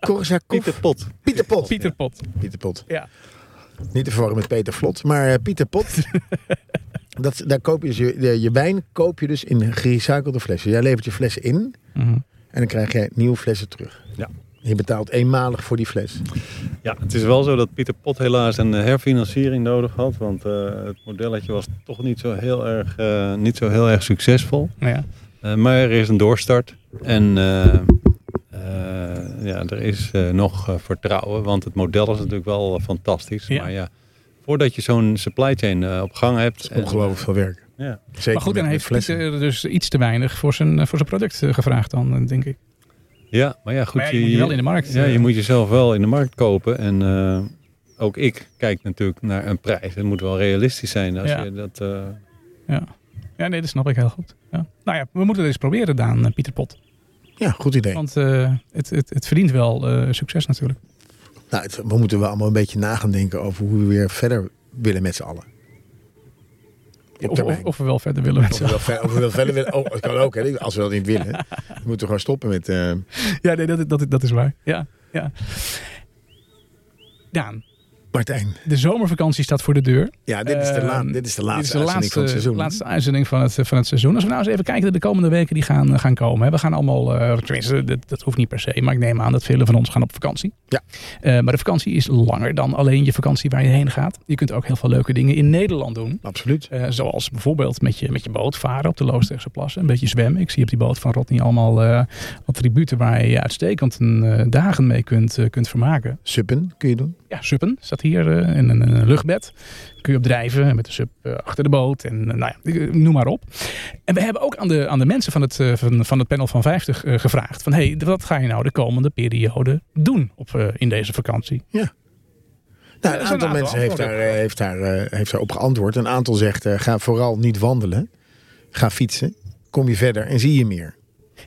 Speaker 2: Korsakov?
Speaker 4: Pieter Pot.
Speaker 2: Pieter Pot.
Speaker 3: Ah, Pieter Pot.
Speaker 2: Pieter Pot.
Speaker 3: Ja.
Speaker 2: Niet te verwarren met Peter Vlot, maar eh, Pieter Pot.
Speaker 3: (laughs)
Speaker 2: dat, daar koop je, dus je, de- je wijn koop je dus in gerecyclede flessen. Jij levert je flessen in
Speaker 3: Mhm.
Speaker 2: en dan krijg je nieuwe flessen terug.
Speaker 4: Ja.
Speaker 2: Je betaalt eenmalig voor die fles.
Speaker 4: Ja, het is wel zo dat Pieter Pot helaas een eh, herfinanciering nodig had. Want eh, het modelletje was toch niet zo heel erg, eh, niet zo heel erg succesvol.
Speaker 3: Nou ja.
Speaker 4: Eh, maar er is een doorstart. En eh, eh, ja, er is eh, nog eh, vertrouwen. Want het model is natuurlijk wel eh, fantastisch.
Speaker 3: Ja.
Speaker 4: Maar ja, voordat je zo'n supply chain eh, op gang hebt. en- eh,
Speaker 2: Ongelooflijk veel werk.
Speaker 4: ja.
Speaker 2: Zeker
Speaker 3: Maar goed,
Speaker 2: met-
Speaker 3: dan
Speaker 2: met
Speaker 3: heeft
Speaker 2: flessen.
Speaker 3: Pieter dus iets te weinig voor zijn, voor zijn product eh, gevraagd dan, eh, denk ik.
Speaker 4: ja, maar ja, goed.
Speaker 3: Maar ja, je moet je wel in de markt,
Speaker 4: Ja,
Speaker 3: eh.
Speaker 4: je moet jezelf wel in de markt kopen. En eh, ook ik kijk natuurlijk naar een prijs. Het moet wel realistisch zijn als
Speaker 3: Ja.
Speaker 4: je dat. eh,
Speaker 3: Ja, ja nee, dat snap ik heel goed. Ja. Nou ja, we moeten het eens proberen, Daan, eh, Pieter Pot.
Speaker 2: Ja, goed idee.
Speaker 3: Want eh, het, het, het verdient wel eh, succes natuurlijk.
Speaker 2: Nou, het- we moeten wel allemaal een beetje na gaan denken over hoe we weer verder willen met z'n allen. Op
Speaker 3: Of, of,
Speaker 2: termijn.
Speaker 3: of we wel verder willen met
Speaker 2: Of
Speaker 3: z'n
Speaker 2: we wel ver- of we wel verder willen. Oh, dat kan ook, hè. Als we dat niet willen, dan moeten we gewoon stoppen met... eh,
Speaker 3: Ja, nee, dat, dat, dat is waar. Ja, ja. Daan,
Speaker 2: Martijn,
Speaker 3: de zomervakantie staat voor de deur.
Speaker 2: ja, dit is de, la-
Speaker 3: Ehm,
Speaker 2: dit is de
Speaker 3: Dit is
Speaker 2: laatste
Speaker 3: de
Speaker 2: uitzending van het
Speaker 3: laatste,
Speaker 2: seizoen.
Speaker 3: laatste uitzending van het, van het seizoen. Als we nou eens even kijken naar de komende weken die gaan, gaan komen. hè. We gaan allemaal, eh, tenminste, dat, dat hoeft niet per se. Maar ik neem aan dat velen van ons gaan op vakantie.
Speaker 2: Ja.
Speaker 3: Eh, maar de vakantie is langer dan alleen je vakantie waar je heen gaat. Je kunt ook heel veel leuke dingen in Nederland doen.
Speaker 2: Absoluut.
Speaker 3: Eh, zoals bijvoorbeeld met je, met je boot varen op de Loosdrechtse plassen. Een beetje zwemmen. Ik zie op die boot van Rodney allemaal eh, attributen waar je uitstekend een, eh, dagen mee kunt, eh, kunt vermaken.
Speaker 2: Suppen kun je doen.
Speaker 3: Ja, suppen staat hier eh, in een, een luchtbed. Kun je op drijven met de sup eh, achter de boot. En eh, nou ja, ik- noem maar op. En we hebben ook aan de, aan de mensen van het, eh, van, van het panel van 50 eh, gevraagd. Van hé, hey, wat ga je nou de komende periode doen op, eh, in deze vakantie?
Speaker 2: Nou,
Speaker 3: er
Speaker 2: een
Speaker 3: zijn
Speaker 2: aantal
Speaker 3: een aantal
Speaker 2: mensen heeft daar,
Speaker 3: antwoorden.
Speaker 2: eh, heeft, daar, eh, heeft daar op geantwoord. Een aantal zegt, eh, ga vooral niet wandelen. Ga fietsen. Kom je verder en zie je meer.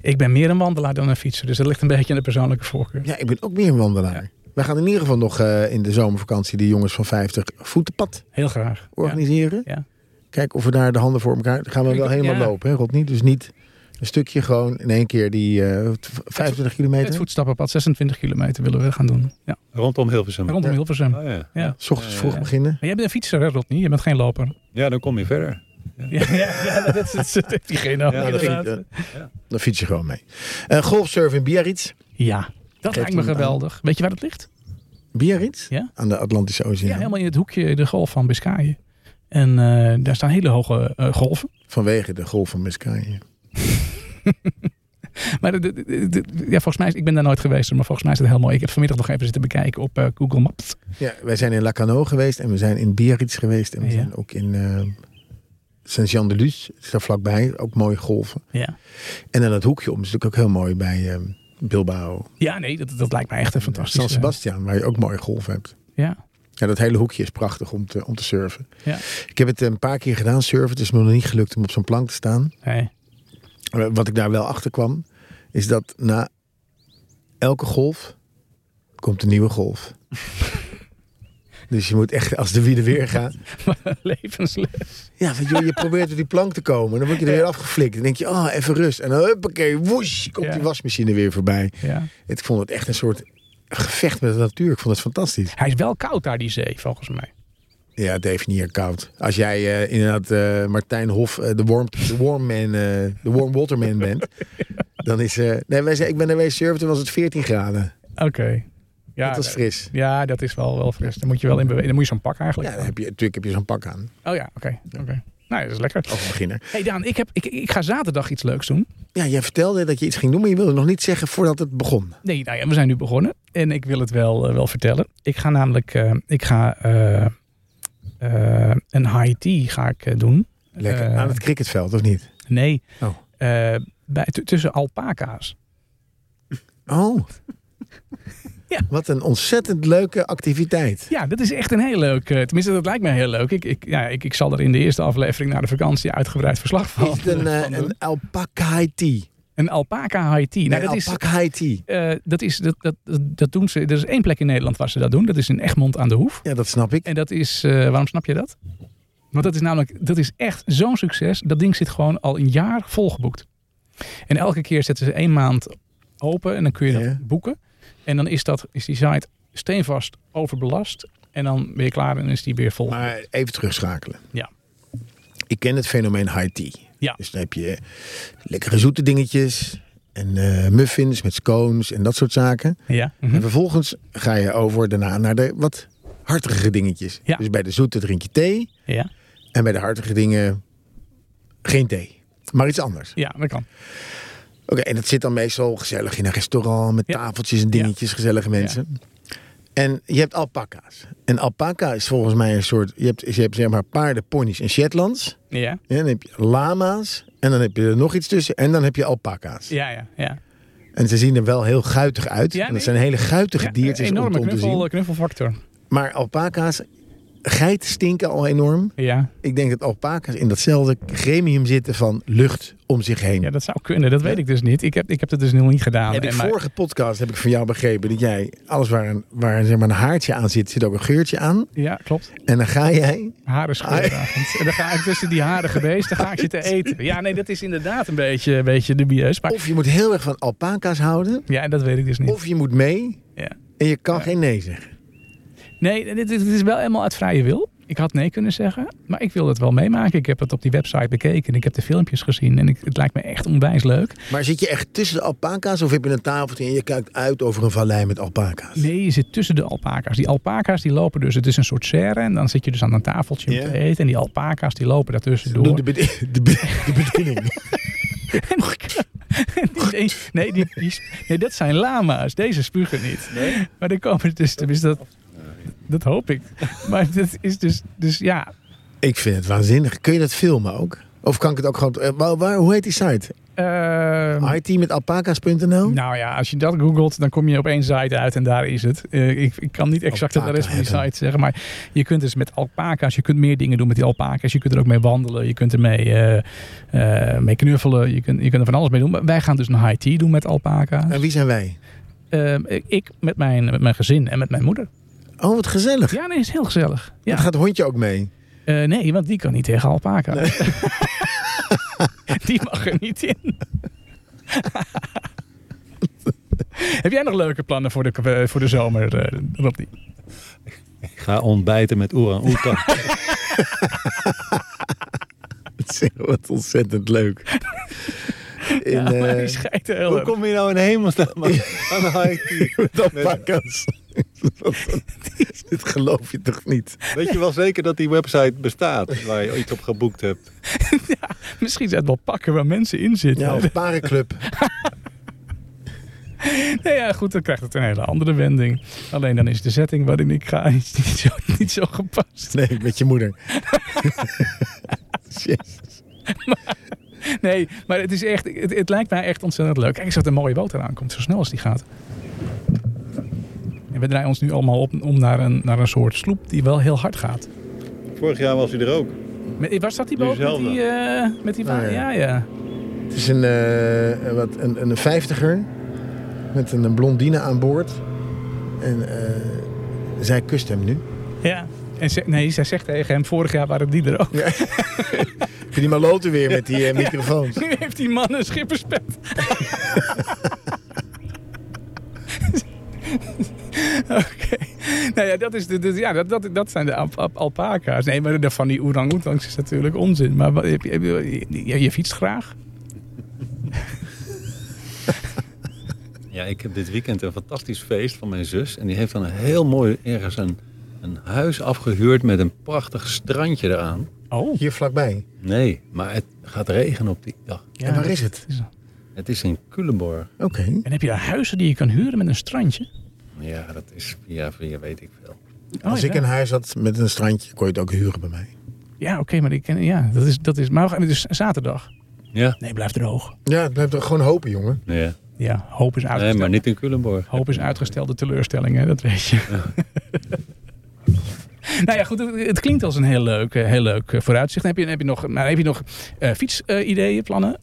Speaker 3: Ik ben meer een wandelaar dan een fietser. Dus dat ligt een beetje aan de persoonlijke voorkeur.
Speaker 2: Ja, ik ben ook meer een wandelaar. Wij gaan in ieder geval nog eh, in de zomervakantie die jongens van 50 voetenpad
Speaker 3: Heel graag. Ja.
Speaker 2: organiseren.
Speaker 3: Ja.
Speaker 2: Kijk of we daar de handen voor elkaar... Dan gaan we
Speaker 3: Ik-
Speaker 2: wel helemaal
Speaker 3: ja.
Speaker 2: lopen, hè, Rodney? Dus niet een stukje gewoon in één keer die eh, t- 25
Speaker 3: Het
Speaker 2: kilometer.
Speaker 3: voetstappenpad, 26 kilometer willen we gaan doen. Ja,
Speaker 4: Rondom Hilversum.
Speaker 3: rondom
Speaker 2: Ja.
Speaker 3: Hilversum.
Speaker 4: Oh, ja.
Speaker 3: Ja.
Speaker 2: S ochtends vroeg
Speaker 4: Eh,
Speaker 2: beginnen.
Speaker 3: Maar jij bent een fietser, hè, Rodney? Je bent geen loper.
Speaker 4: ja, dan kom je verder.
Speaker 3: Ja, (laughs) ja, ja, dat is- dat heeft diegene ook,
Speaker 4: Ja, dat eh,
Speaker 3: inderdaad.
Speaker 2: vind Dan fiets je gewoon mee. Eh golfsurf in Biarritz.
Speaker 3: Ja, dat lijkt me
Speaker 2: hem aan.
Speaker 3: geweldig. Weet je waar dat ligt?
Speaker 2: Biarritz?
Speaker 3: Ja.
Speaker 2: Aan de Atlantische
Speaker 3: Ja,
Speaker 2: Oceaan.
Speaker 3: helemaal in het hoekje, de golf van Biscayen. En eh, daar staan hele hoge eh, golven.
Speaker 2: Vanwege de golf van Biscayen.
Speaker 3: Maar de- de- de- de- ja, volgens mij, is- ik ben daar nooit geweest, maar volgens mij is het heel mooi. Ik heb vanmiddag nog even zitten bekijken op eh, Google Maps.
Speaker 2: Ja, wij zijn in Lacano geweest en we zijn in Biarritz geweest. En we
Speaker 3: Ja.
Speaker 2: zijn ook in eh, Saint-Jean-de-Luz. Het is daar vlakbij. Ook mooie golven.
Speaker 3: Ja,
Speaker 2: En dan dat hoekje om is natuurlijk ook heel mooi bij eh, Bilbao.
Speaker 3: ja nee, dat, dat lijkt mij echt een fantastisch.
Speaker 2: San Sebastian, waar je ook mooie golven hebt.
Speaker 3: Ja,
Speaker 2: Ja, dat hele hoekje is prachtig om te, om te surfen.
Speaker 3: Ja.
Speaker 2: Ik heb het een paar keer gedaan, surfen. Het is me nog niet gelukt om op zo'n plank te staan.
Speaker 3: nee. (laughs)
Speaker 2: Eh, Wat ik daar wel achter kwam, is dat na elke golf komt een nieuwe golf. dus je moet echt, als de wielen weer gaan.
Speaker 3: levensles.
Speaker 2: Ja, want joh, je probeert door die plank te komen. Dan word je er weer afgeflikt. Dan denk je, oh, even rust. En dan huppakee, woesh, komt
Speaker 3: Ja.
Speaker 2: die wasmachine weer voorbij.
Speaker 3: Ja.
Speaker 2: Ik vond het echt een soort gevecht met de natuur. Ik vond het fantastisch.
Speaker 3: Hij is wel koud daar, die zee, volgens mij.
Speaker 2: Ja, het heeft niet heel koud. Als jij eh, inderdaad eh, Martijn Hof, eh, de warm, de warm man, eh, de warm waterman bent, dan is... eh, nee, wij zijn, ik ben naar wees surfen, toen was het 14 graden.
Speaker 3: Oké. Ja,
Speaker 2: dat was
Speaker 3: nee.
Speaker 2: fris.
Speaker 3: Ja, dat is wel, wel fris. Dan moet je wel in bewegen. Dan moet je zo'n pak
Speaker 2: Ja,
Speaker 3: eigenlijk.
Speaker 2: dan heb je, natuurlijk heb je Oh. zo'n pak aan,
Speaker 3: Oh ja, oké. oké. Nou, dat is lekker.
Speaker 2: als beginner.
Speaker 3: hey Daan, ik, heb, ik, ik ga zaterdag iets leuks doen.
Speaker 2: Ja, jij vertelde dat je iets ging doen, maar je wilde nog niet zeggen voordat het begon.
Speaker 3: Nee, nou ja, we zijn nu begonnen. En ik wil het wel, eh, wel vertellen. Ik ga namelijk eh, ik ga, eh, eh, een high tea ga ik, eh, doen.
Speaker 2: Lekker.
Speaker 3: Eh,
Speaker 2: aan het cricketveld, of niet?
Speaker 3: Nee.
Speaker 2: Oh.
Speaker 3: Eh, bij, t- tussen alpaca's.
Speaker 2: Oh. (laughs)
Speaker 3: Ja.
Speaker 2: Wat een ontzettend leuke activiteit.
Speaker 3: Ja, dat is echt een heel leuk. eh, tenminste, dat lijkt mij heel leuk. Ik, ik, ja, ik, ik zal er in de eerste aflevering na de vakantie uitgebreid verslag van.
Speaker 2: Is het een, eh,
Speaker 3: van doen.
Speaker 2: een alpaca high tea?
Speaker 3: Een alpaca high tea. Nou,
Speaker 2: Nee,
Speaker 3: dat is,
Speaker 2: alpaca high tea.
Speaker 3: eh, dat, is, dat, dat, dat- dat doen ze. Er is één plek in Nederland waar ze dat doen. Dat is in Egmond aan de Hoef.
Speaker 2: Ja, dat snap ik.
Speaker 3: En dat is, eh, waarom snap je dat? Want dat is namelijk, dat is echt zo'n succes. Dat ding zit gewoon al een jaar volgeboekt. En elke keer zetten ze één maand open en dan kun je dat
Speaker 2: Ja.
Speaker 3: boeken. En dan is, dat, is die site steenvast overbelast. En dan ben je klaar en is die weer vol.
Speaker 2: Maar even terugschakelen.
Speaker 3: Ja.
Speaker 2: Ik ken het fenomeen high tea.
Speaker 3: Ja.
Speaker 2: Dus dan heb je lekkere zoete dingetjes en eh, muffins met scones en dat soort zaken.
Speaker 3: Ja. Mhm.
Speaker 2: En vervolgens ga je over daarna naar de wat hartigere dingetjes.
Speaker 3: Ja.
Speaker 2: Dus bij de zoete drink je thee
Speaker 3: ja.
Speaker 2: en bij de hartige dingen geen thee. Maar iets anders.
Speaker 3: Ja, dat kan.
Speaker 2: Oké, en dat zit dan meestal gezellig in een restaurant met
Speaker 3: Ja.
Speaker 2: tafeltjes en dingetjes, gezellige mensen. En je hebt alpaca's. En alpaca is volgens mij een soort, je hebt, je hebt zeg maar paarden, ponies en Shetlands.
Speaker 3: Ja.
Speaker 2: Ja, dan heb je lama's en dan heb je er nog iets tussen en dan heb je alpaca's.
Speaker 3: Ja, ja, ja.
Speaker 2: En ze zien er wel heel guitig uit.
Speaker 3: Ja,
Speaker 2: en
Speaker 3: nee.
Speaker 2: dat zijn hele guitige
Speaker 3: ja
Speaker 2: diertjes om-
Speaker 3: enorme
Speaker 2: om, te zien.
Speaker 3: knuffel, eh, knuffelfactor.
Speaker 2: Maar alpaca's, geiten stinken al enorm.
Speaker 3: Ja.
Speaker 2: Ik denk dat alpaca's in datzelfde gremium zitten van lucht om zich heen.
Speaker 3: ja, dat zou kunnen. Dat weet ik dus niet. Ik heb, ik heb dat dus nog niet gedaan.
Speaker 2: Heb ik
Speaker 3: En maar-
Speaker 2: vorige podcast heb ik van jou begrepen dat jij alles waar een, waar zeg maar een haartje aan zit, zit ook een geurtje aan.
Speaker 3: Ja, klopt.
Speaker 2: En dan ga jij.
Speaker 3: Haren scheuravond. En dan ga ik tussen die haren geweest, dan ga ik zitten eten. Ja, nee, dat is inderdaad een beetje, een beetje dubieus. Maar
Speaker 2: Of je moet heel erg van alpaca's houden,
Speaker 3: ja, dat weet ik dus niet.
Speaker 2: of je moet mee
Speaker 3: Ja.
Speaker 2: en je kan geen nee zeggen.
Speaker 3: Nee, dit, dit is wel helemaal uit vrije wil. Ik had nee kunnen zeggen, maar ik wil het wel meemaken. Ik heb het op die website bekeken en ik heb de filmpjes gezien. En ik, het lijkt me echt onwijs leuk.
Speaker 2: Maar zit je echt tussen de alpaca's of heb je een tafeltje en je kijkt uit over een vallei met alpaca's?
Speaker 3: Nee, je zit tussen de alpaca's. Die alpaca's die lopen dus, het is een soort serre. En dan zit je dus aan een tafeltje om
Speaker 2: Ja.
Speaker 3: te eten. En die alpaca's die lopen daartussen door.
Speaker 2: Doe de, bed- de, be- de bediening.
Speaker 3: (laughs) Nee, nee, die, die, nee, dat zijn lama's. Deze spugen niet. Maar dan komen dus, tenminste, dat, dat hoop ik. Maar dat is dus, dus ja,
Speaker 2: (laughs) ik vind het waanzinnig. Kun je dat filmen ook? Of kan ik het ook gewoon. eh, waar, waar- hoe heet die site?
Speaker 3: ehm,
Speaker 2: IT met alpaca's.nl?
Speaker 3: nou ja, als je dat googelt, dan kom je op één site uit en daar is het. Eh, ik, ik kan niet exact de rest van die
Speaker 2: Alpaca
Speaker 3: site zeggen, maar je kunt dus met alpaca's, je kunt meer dingen doen met die alpaca's. Je kunt er ook mee wandelen, je kunt er mee, eh, eh, mee knuffelen, je kunt, je kunt er van alles mee doen. Maar wij gaan dus een high tea doen met alpaca's.
Speaker 2: En wie zijn wij?
Speaker 3: Ehm, ik met mijn, met mijn gezin en met mijn moeder.
Speaker 2: Oh, wat gezellig.
Speaker 3: Ja, nee, is heel gezellig. Ja.
Speaker 2: Dan gaat het hondje ook (laughs) mee.
Speaker 3: Eh, nee, want die kan niet tegen alpaca. (laughs) die mag er niet in. (laughs) Heb jij nog leuke plannen voor de, eh, voor de zomer, eh, Rodney?
Speaker 4: Ik ga ontbijten met Oerang (laughs) Oetang.
Speaker 2: Wat ontzettend (laughs) leuk. In,
Speaker 3: Ja, maar
Speaker 2: eh,
Speaker 3: die schijnt er heel
Speaker 4: Hoe
Speaker 3: erg.
Speaker 4: kom je nou in hemelsnaam (laughs) aan aan de high tea?
Speaker 2: (laughs) met (laughs) alpaca's. Dit geloof je toch niet?
Speaker 4: Weet je wel zeker dat die website bestaat waar je iets op geboekt hebt?
Speaker 2: (laughs)
Speaker 3: Misschien zijn het wel pakken waar mensen in zitten.
Speaker 2: Ja, of parenclub.
Speaker 3: Nee, ja, goed, dan krijgt het een hele andere wending. Alleen dan is de setting waarin ik ga is niet zo, niet zo gepast.
Speaker 2: Nee, met je moeder. Jezus.
Speaker 3: Nee, maar het, is echt, het, het lijkt mij echt ontzettend leuk. Kijk eens wat een mooie boot eraan komt, zo snel als die gaat. En we draaien ons nu allemaal op, om naar een, naar een soort sloep die wel heel hard gaat.
Speaker 4: Vorig jaar was hij er ook.
Speaker 3: Met, was dat die boot met
Speaker 4: Diezelfde.
Speaker 3: die, eh met die wa-
Speaker 2: Ah,
Speaker 3: ja.
Speaker 2: ja.
Speaker 3: ja,
Speaker 2: Het is een, eh, wat, een, een vijftiger met een, blondine aan boord. En eh, zij kust hem nu.
Speaker 3: ja. En ze- nee, zij zegt tegen hem, vorig jaar waren die er ook.
Speaker 2: Vind die maloten weer met
Speaker 3: (laughs)
Speaker 2: die eh, microfoons.
Speaker 3: Nu heeft die man een schipperspet. (laughs) Oké. Nou ja, dat, is de, de- ja dat, dat, dat zijn de alp- alp- alpaca's. Nee, maar de- van die orang-oetangs is natuurlijk onzin. Maar wat- heb je, heb je, je, je fietst graag?
Speaker 4: Ja, ik heb dit weekend een fantastisch feest van mijn zus. En die heeft dan een heel mooi ergens een, een huis afgehuurd met een prachtig strandje eraan.
Speaker 3: Oh.
Speaker 2: Hier vlakbij.
Speaker 4: Nee, maar het gaat regenen op die dag.
Speaker 2: en waar is het?
Speaker 4: Het is in Culemborg.
Speaker 2: Oké.
Speaker 3: En heb je daar huizen die je kan huren met een strandje?
Speaker 4: Ja, dat is via via weet ik veel.
Speaker 3: Oh,
Speaker 2: Als
Speaker 3: ja.
Speaker 2: ik een huis had met een strandje, kon je het ook huren bij mij.
Speaker 3: Ja, oké, maar ik ken, ja, dat is, dat is. Maar we gaan dus zaterdag.
Speaker 4: Ja.
Speaker 3: Nee, blijf droog.
Speaker 2: Ja, het blijft gewoon hopen, jongen.
Speaker 4: ja.
Speaker 3: Ja, hoop is
Speaker 4: Nee,
Speaker 3: uitgesteld.
Speaker 4: maar niet in Culemborg.
Speaker 3: Hoop is uitgestelde teleurstelling, hè? dat weet je. (laughs) nou ja, goed, het klinkt als een heel leuk, eh, heel leuk eh, vooruitzicht. Heb je, heb je nog, maar heb je nog eh, fietsideeën, plannen?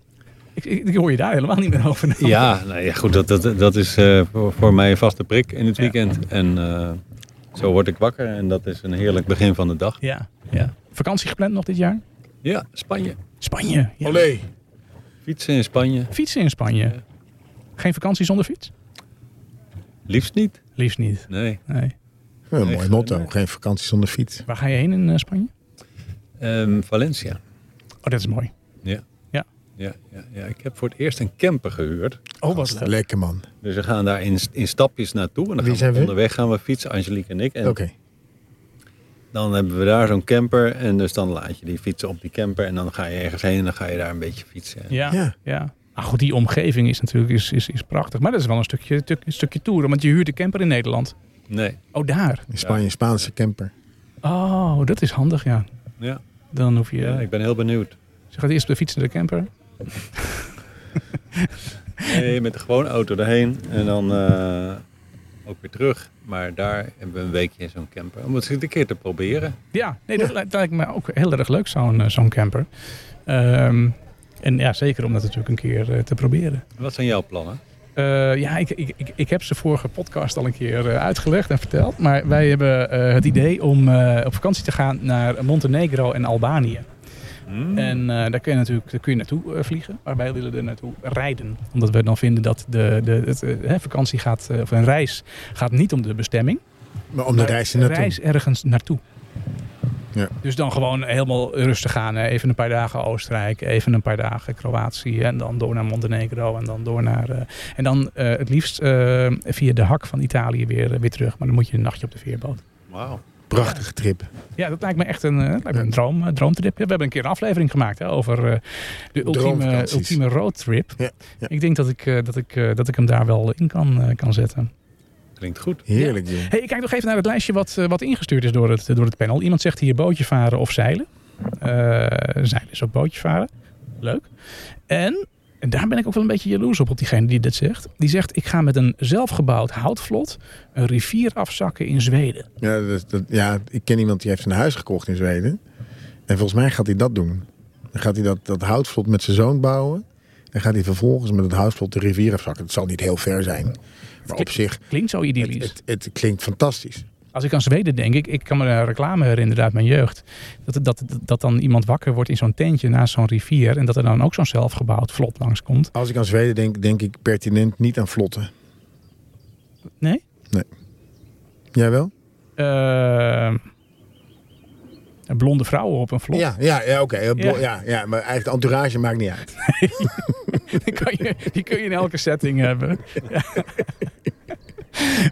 Speaker 3: Ik, ik, ik hoor je daar helemaal niet meer over.
Speaker 4: Ja, nou ja, goed, dat, dat, dat is eh, voor, voor mij een vaste prik in het
Speaker 3: Ja.
Speaker 4: weekend. En eh, zo word ik wakker en dat is een heerlijk begin van de dag.
Speaker 3: ja, ja. Vakantie gepland nog dit jaar?
Speaker 4: Ja, Spanje.
Speaker 3: Spanje. Ja.
Speaker 2: Olé.
Speaker 4: Fietsen in Spanje.
Speaker 3: Fietsen in Spanje. Geen vakantie zonder fiets?
Speaker 4: Liefst niet.
Speaker 3: Liefst niet.
Speaker 4: Nee.
Speaker 3: Nee.
Speaker 2: Ja, een
Speaker 4: Nee,
Speaker 2: mooi
Speaker 4: geen-
Speaker 2: motto.
Speaker 3: eh,
Speaker 4: nee.
Speaker 2: Geen vakantie zonder fiets.
Speaker 3: Waar ga je heen in eh, Spanje?
Speaker 4: Ehm, Valencia.
Speaker 3: Oh, dat is mooi.
Speaker 4: Ja.
Speaker 3: Ja.
Speaker 4: Ja, ja, ja. Ik heb voor het eerst een camper gehuurd.
Speaker 3: Oh, wat leuk.
Speaker 2: Lekker man.
Speaker 4: Dus we gaan daar in, in stapjes naartoe. En dan
Speaker 2: Wie
Speaker 4: gaan
Speaker 2: zijn
Speaker 4: we
Speaker 2: we?
Speaker 4: onderweg gaan we fietsen, Angelique en ik. En
Speaker 2: Oké.
Speaker 4: dan hebben we daar zo'n camper. En dus dan laat je die fietsen op die camper. En dan ga je ergens heen en dan ga je daar een beetje fietsen.
Speaker 3: Ja. ja.
Speaker 2: Ja.
Speaker 3: Maar goed, die omgeving is natuurlijk is, is, is prachtig. Maar dat is wel een stukje, tuk- een stukje toeren, want je huurt de camper in Nederland.
Speaker 4: Nee.
Speaker 3: Oh, daar.
Speaker 2: In Spanje, Spaanse camper.
Speaker 3: Oh, dat is handig, ja.
Speaker 4: Ja.
Speaker 3: Dan hoef je...
Speaker 4: ja, ik ben heel benieuwd.
Speaker 3: Ze gaat eerst op de fiets naar de camper.
Speaker 4: Nee, met de gewone auto daarheen en dan eh, ook weer terug. Maar daar hebben we een weekje in zo'n camper. Om het eens een keer te proberen.
Speaker 3: Ja, nee, dat lijkt, lijkt me ook heel erg leuk, zo'n eh, zo'n camper. Ehm, en ja, zeker om dat natuurlijk een keer eh, te proberen.
Speaker 4: Wat zijn jouw plannen?
Speaker 3: Eh, ja, ik, ik, ik, ik heb ze vorige podcast al een keer eh, uitgelegd en verteld. Maar wij hebben eh, het idee om eh, op vakantie te gaan naar Montenegro en Albanië.
Speaker 4: Hmm?
Speaker 3: En eh, daar kun je natuurlijk daar kun je naartoe eh, vliegen. Maar wij willen er naartoe rijden. Omdat we dan vinden dat de, de het, eh, hè, vakantie gaat, eh, of een reis gaat niet om de bestemming.
Speaker 2: Maar om de
Speaker 3: Maar
Speaker 2: reis er naartoe.
Speaker 3: reis ergens naartoe.
Speaker 2: Ja.
Speaker 3: Dus dan gewoon helemaal rustig gaan. hè. Even een paar dagen Oostenrijk, even een paar dagen Kroatië. En dan door naar Montenegro en dan door naar... eh, en dan eh, het liefst eh, via de hak van Italië weer, eh, weer terug. Maar dan moet je een nachtje op de veerboot.
Speaker 4: Wauw.
Speaker 2: Prachtige trip.
Speaker 3: Ja, dat lijkt me echt een, eh, dat lijkt me een droom, eh, droomtrip. We hebben een keer een aflevering gemaakt hè, over eh, de ultieme,
Speaker 2: Droomvakanties.
Speaker 3: ultieme roadtrip.
Speaker 2: Ja, ja.
Speaker 3: Ik denk dat ik, eh, dat, ik, eh, dat ik hem daar wel in kan, eh, kan zetten.
Speaker 4: Klinkt goed.
Speaker 2: Heerlijk, joh.
Speaker 3: Hey, ik kijk nog even naar het lijstje wat, eh, wat ingestuurd is door het, door het panel. Iemand zegt hier bootje varen of zeilen. Eh, zeilen is ook bootje varen. Leuk. En, en daar ben ik ook wel een beetje jaloers op, op diegene die dit zegt. Die zegt, ik ga met een zelfgebouwd houtvlot een rivier afzakken in Zweden.
Speaker 2: Ja, dat, dat- ja, ik ken iemand die heeft een huis gekocht in Zweden. En volgens mij gaat hij dat doen. Dan gaat hij dat, dat houtvlot met zijn zoon bouwen. En gaat hij vervolgens met het houtvlot de rivier afzakken. Het zal niet heel ver zijn. Maar op zich,
Speaker 3: Klinkt zo idyllisch.
Speaker 2: het, het klinkt fantastisch.
Speaker 3: Als ik aan Zweden denk, ik, ik kan me een reclame herinneren uit mijn jeugd. Dat, dat, dat dan iemand wakker wordt in zo'n tentje naast zo'n rivier. En dat er dan ook zo'n zelfgebouwd vlot langskomt.
Speaker 2: Als ik aan Zweden denk, denk ik pertinent niet aan vlotten.
Speaker 3: Nee?
Speaker 2: Jij wel?
Speaker 3: Eh, blonde vrouwen op een vlot.
Speaker 2: Ja, ja, ja oké. Heel blo-
Speaker 3: Ja.
Speaker 2: Ja. Ja, maar eigenlijk de entourage maakt niet uit.
Speaker 3: (laughs) Die, kan je, die kun je in elke setting hebben. Ja.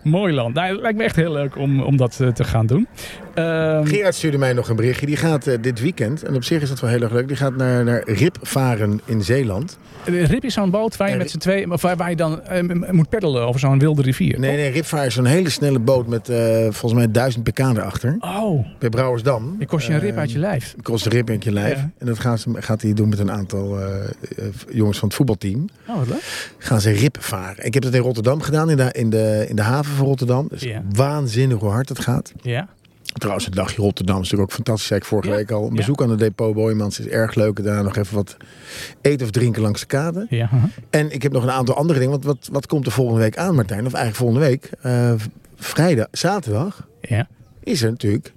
Speaker 3: Mooi land. Nou, het lijkt me echt heel leuk om, om dat eh, te gaan doen. Ehm,
Speaker 2: Gerard stuurde mij nog een berichtje. Die gaat eh, dit weekend, en op zich is dat wel heel erg leuk, die gaat naar, naar Rip varen in Zeeland.
Speaker 3: Rip is zo'n boot waar je
Speaker 2: Ja,
Speaker 3: met z'n twee, of waar, waar je dan eh, m- moet peddelen over zo'n wilde rivier.
Speaker 2: Nee, nee, Rip varen is zo'n hele snelle boot met eh, volgens mij 1000 pk erachter.
Speaker 3: Oh,
Speaker 2: Bij Brouwersdam.
Speaker 3: ik kost je een rip
Speaker 2: Ehm,
Speaker 3: uit je lijf.
Speaker 2: Kost een rip uit je lijf.
Speaker 3: Ja.
Speaker 2: En dat gaan ze, gaat hij doen met een aantal eh, eh, jongens van het voetbalteam.
Speaker 3: Oh, wat leuk.
Speaker 2: Gaan ze rip varen. Ik heb dat in Rotterdam gedaan, in de, in de, in de haven van Rotterdam. Dus
Speaker 3: Ja.
Speaker 2: waanzinnig hoe hard het gaat.
Speaker 3: Ja.
Speaker 2: Trouwens, het dagje Rotterdam is natuurlijk ook fantastisch. Zei ik vorige
Speaker 3: Ja.
Speaker 2: week al. Een
Speaker 3: Ja.
Speaker 2: bezoek aan de depot Boijmans is erg leuk. Daarna nog even wat eten of drinken langs de kade.
Speaker 3: ja. aha.
Speaker 2: En ik heb nog een aantal andere dingen. Want wat, wat komt er volgende week aan, Martijn? Of eigenlijk volgende week, eh, v- vrijdag, zaterdag,
Speaker 3: ja.
Speaker 2: is er natuurlijk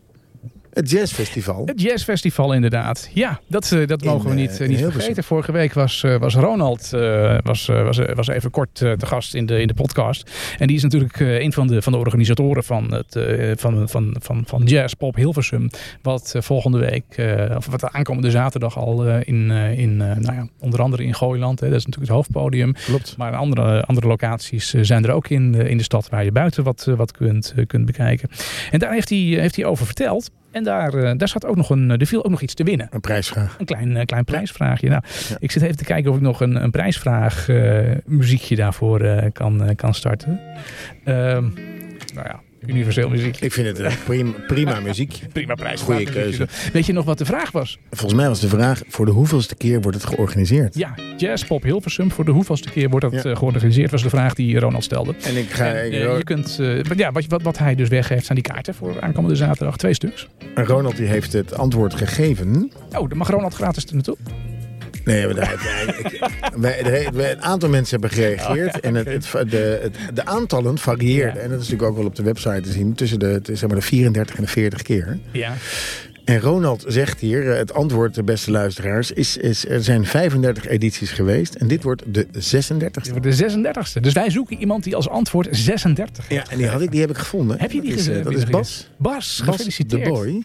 Speaker 2: het jazzfestival.
Speaker 3: Het jazzfestival inderdaad. Ja, dat, eh, dat
Speaker 2: In,
Speaker 3: mogen we niet,
Speaker 2: eh,
Speaker 3: eh,
Speaker 2: in
Speaker 3: niet
Speaker 2: Hilversum.
Speaker 3: vergeten. Vorige week was, eh, was Ronald eh, was, eh, was, eh, was even kort eh, te gast in de, in de podcast. En die is natuurlijk eh, een van de, van de organisatoren van, het, eh, van, van, van, van Jazz Pop Hilversum. Wat eh, volgende week, eh, of wat aankomende zaterdag al eh, in, eh, in eh, nou ja, onder andere in Gooiland. Hè, dat is natuurlijk het hoofdpodium.
Speaker 2: Klopt.
Speaker 3: Maar andere, andere locaties eh, zijn er ook in, eh, in de stad waar je buiten wat, eh, wat kunt, eh, kunt bekijken. En daar heeft hij, eh, heeft hij over verteld. En daar, eh, daar zat ook nog een, eh, er viel ook nog iets te winnen.
Speaker 2: Een prijsvraag.
Speaker 3: Een klein, eh, klein prijsvraagje. Nou,
Speaker 2: Ja.
Speaker 3: Ik zit even te kijken of ik nog een, een prijsvraag eh, muziekje daarvoor eh, kan, eh, kan starten. Ehm, nou ja, universeel muziek.
Speaker 2: Ik vind het eh, prima, prima muziek.
Speaker 3: Prima prijsvraag.
Speaker 2: Goeie keuze.
Speaker 3: Weet je nog wat de vraag was?
Speaker 2: Volgens mij was de vraag, voor de hoeveelste keer wordt het georganiseerd?
Speaker 3: Ja, Jazzpop Hilversum. Voor de hoeveelste keer wordt dat
Speaker 2: Ja.
Speaker 3: eh, georganiseerd? Was de vraag die Ronald stelde.
Speaker 2: En ik ga...
Speaker 3: En,
Speaker 2: ik-
Speaker 3: eh, je kunt, eh, wat- ja, wat, wat, wat hij dus weggeeft zijn die kaarten voor aankomende zaterdag. Twee stuks.
Speaker 2: Ronald die heeft het antwoord gegeven.
Speaker 3: Oh, dan mag Ronald gratis er naartoe.
Speaker 2: Nee, maar daar, daar- ik- wij, er he- wij- een aantal mensen hebben gereageerd. En het, het, va- de, het- de aantallen varieerden.
Speaker 3: Ja.
Speaker 2: En dat is natuurlijk ook wel op de website te zien. Tussen de, t- zeg maar de 34 en de 40 keer.
Speaker 3: Ja.
Speaker 2: En Ronald zegt hier, eh, het antwoord, de beste luisteraars... Is, is, er zijn 35 edities geweest. En dit wordt de 36e.
Speaker 3: Voor de 36e. Dus wij zoeken iemand die als antwoord 36 heeft.
Speaker 2: Ja, en die, had ik, die heb ik gevonden.
Speaker 3: Heb je die
Speaker 2: Dat is, eh,
Speaker 3: gezien?
Speaker 2: Dat is Bas.
Speaker 3: Bas,
Speaker 2: Bas de
Speaker 3: gefeliciteerd.
Speaker 2: Boy.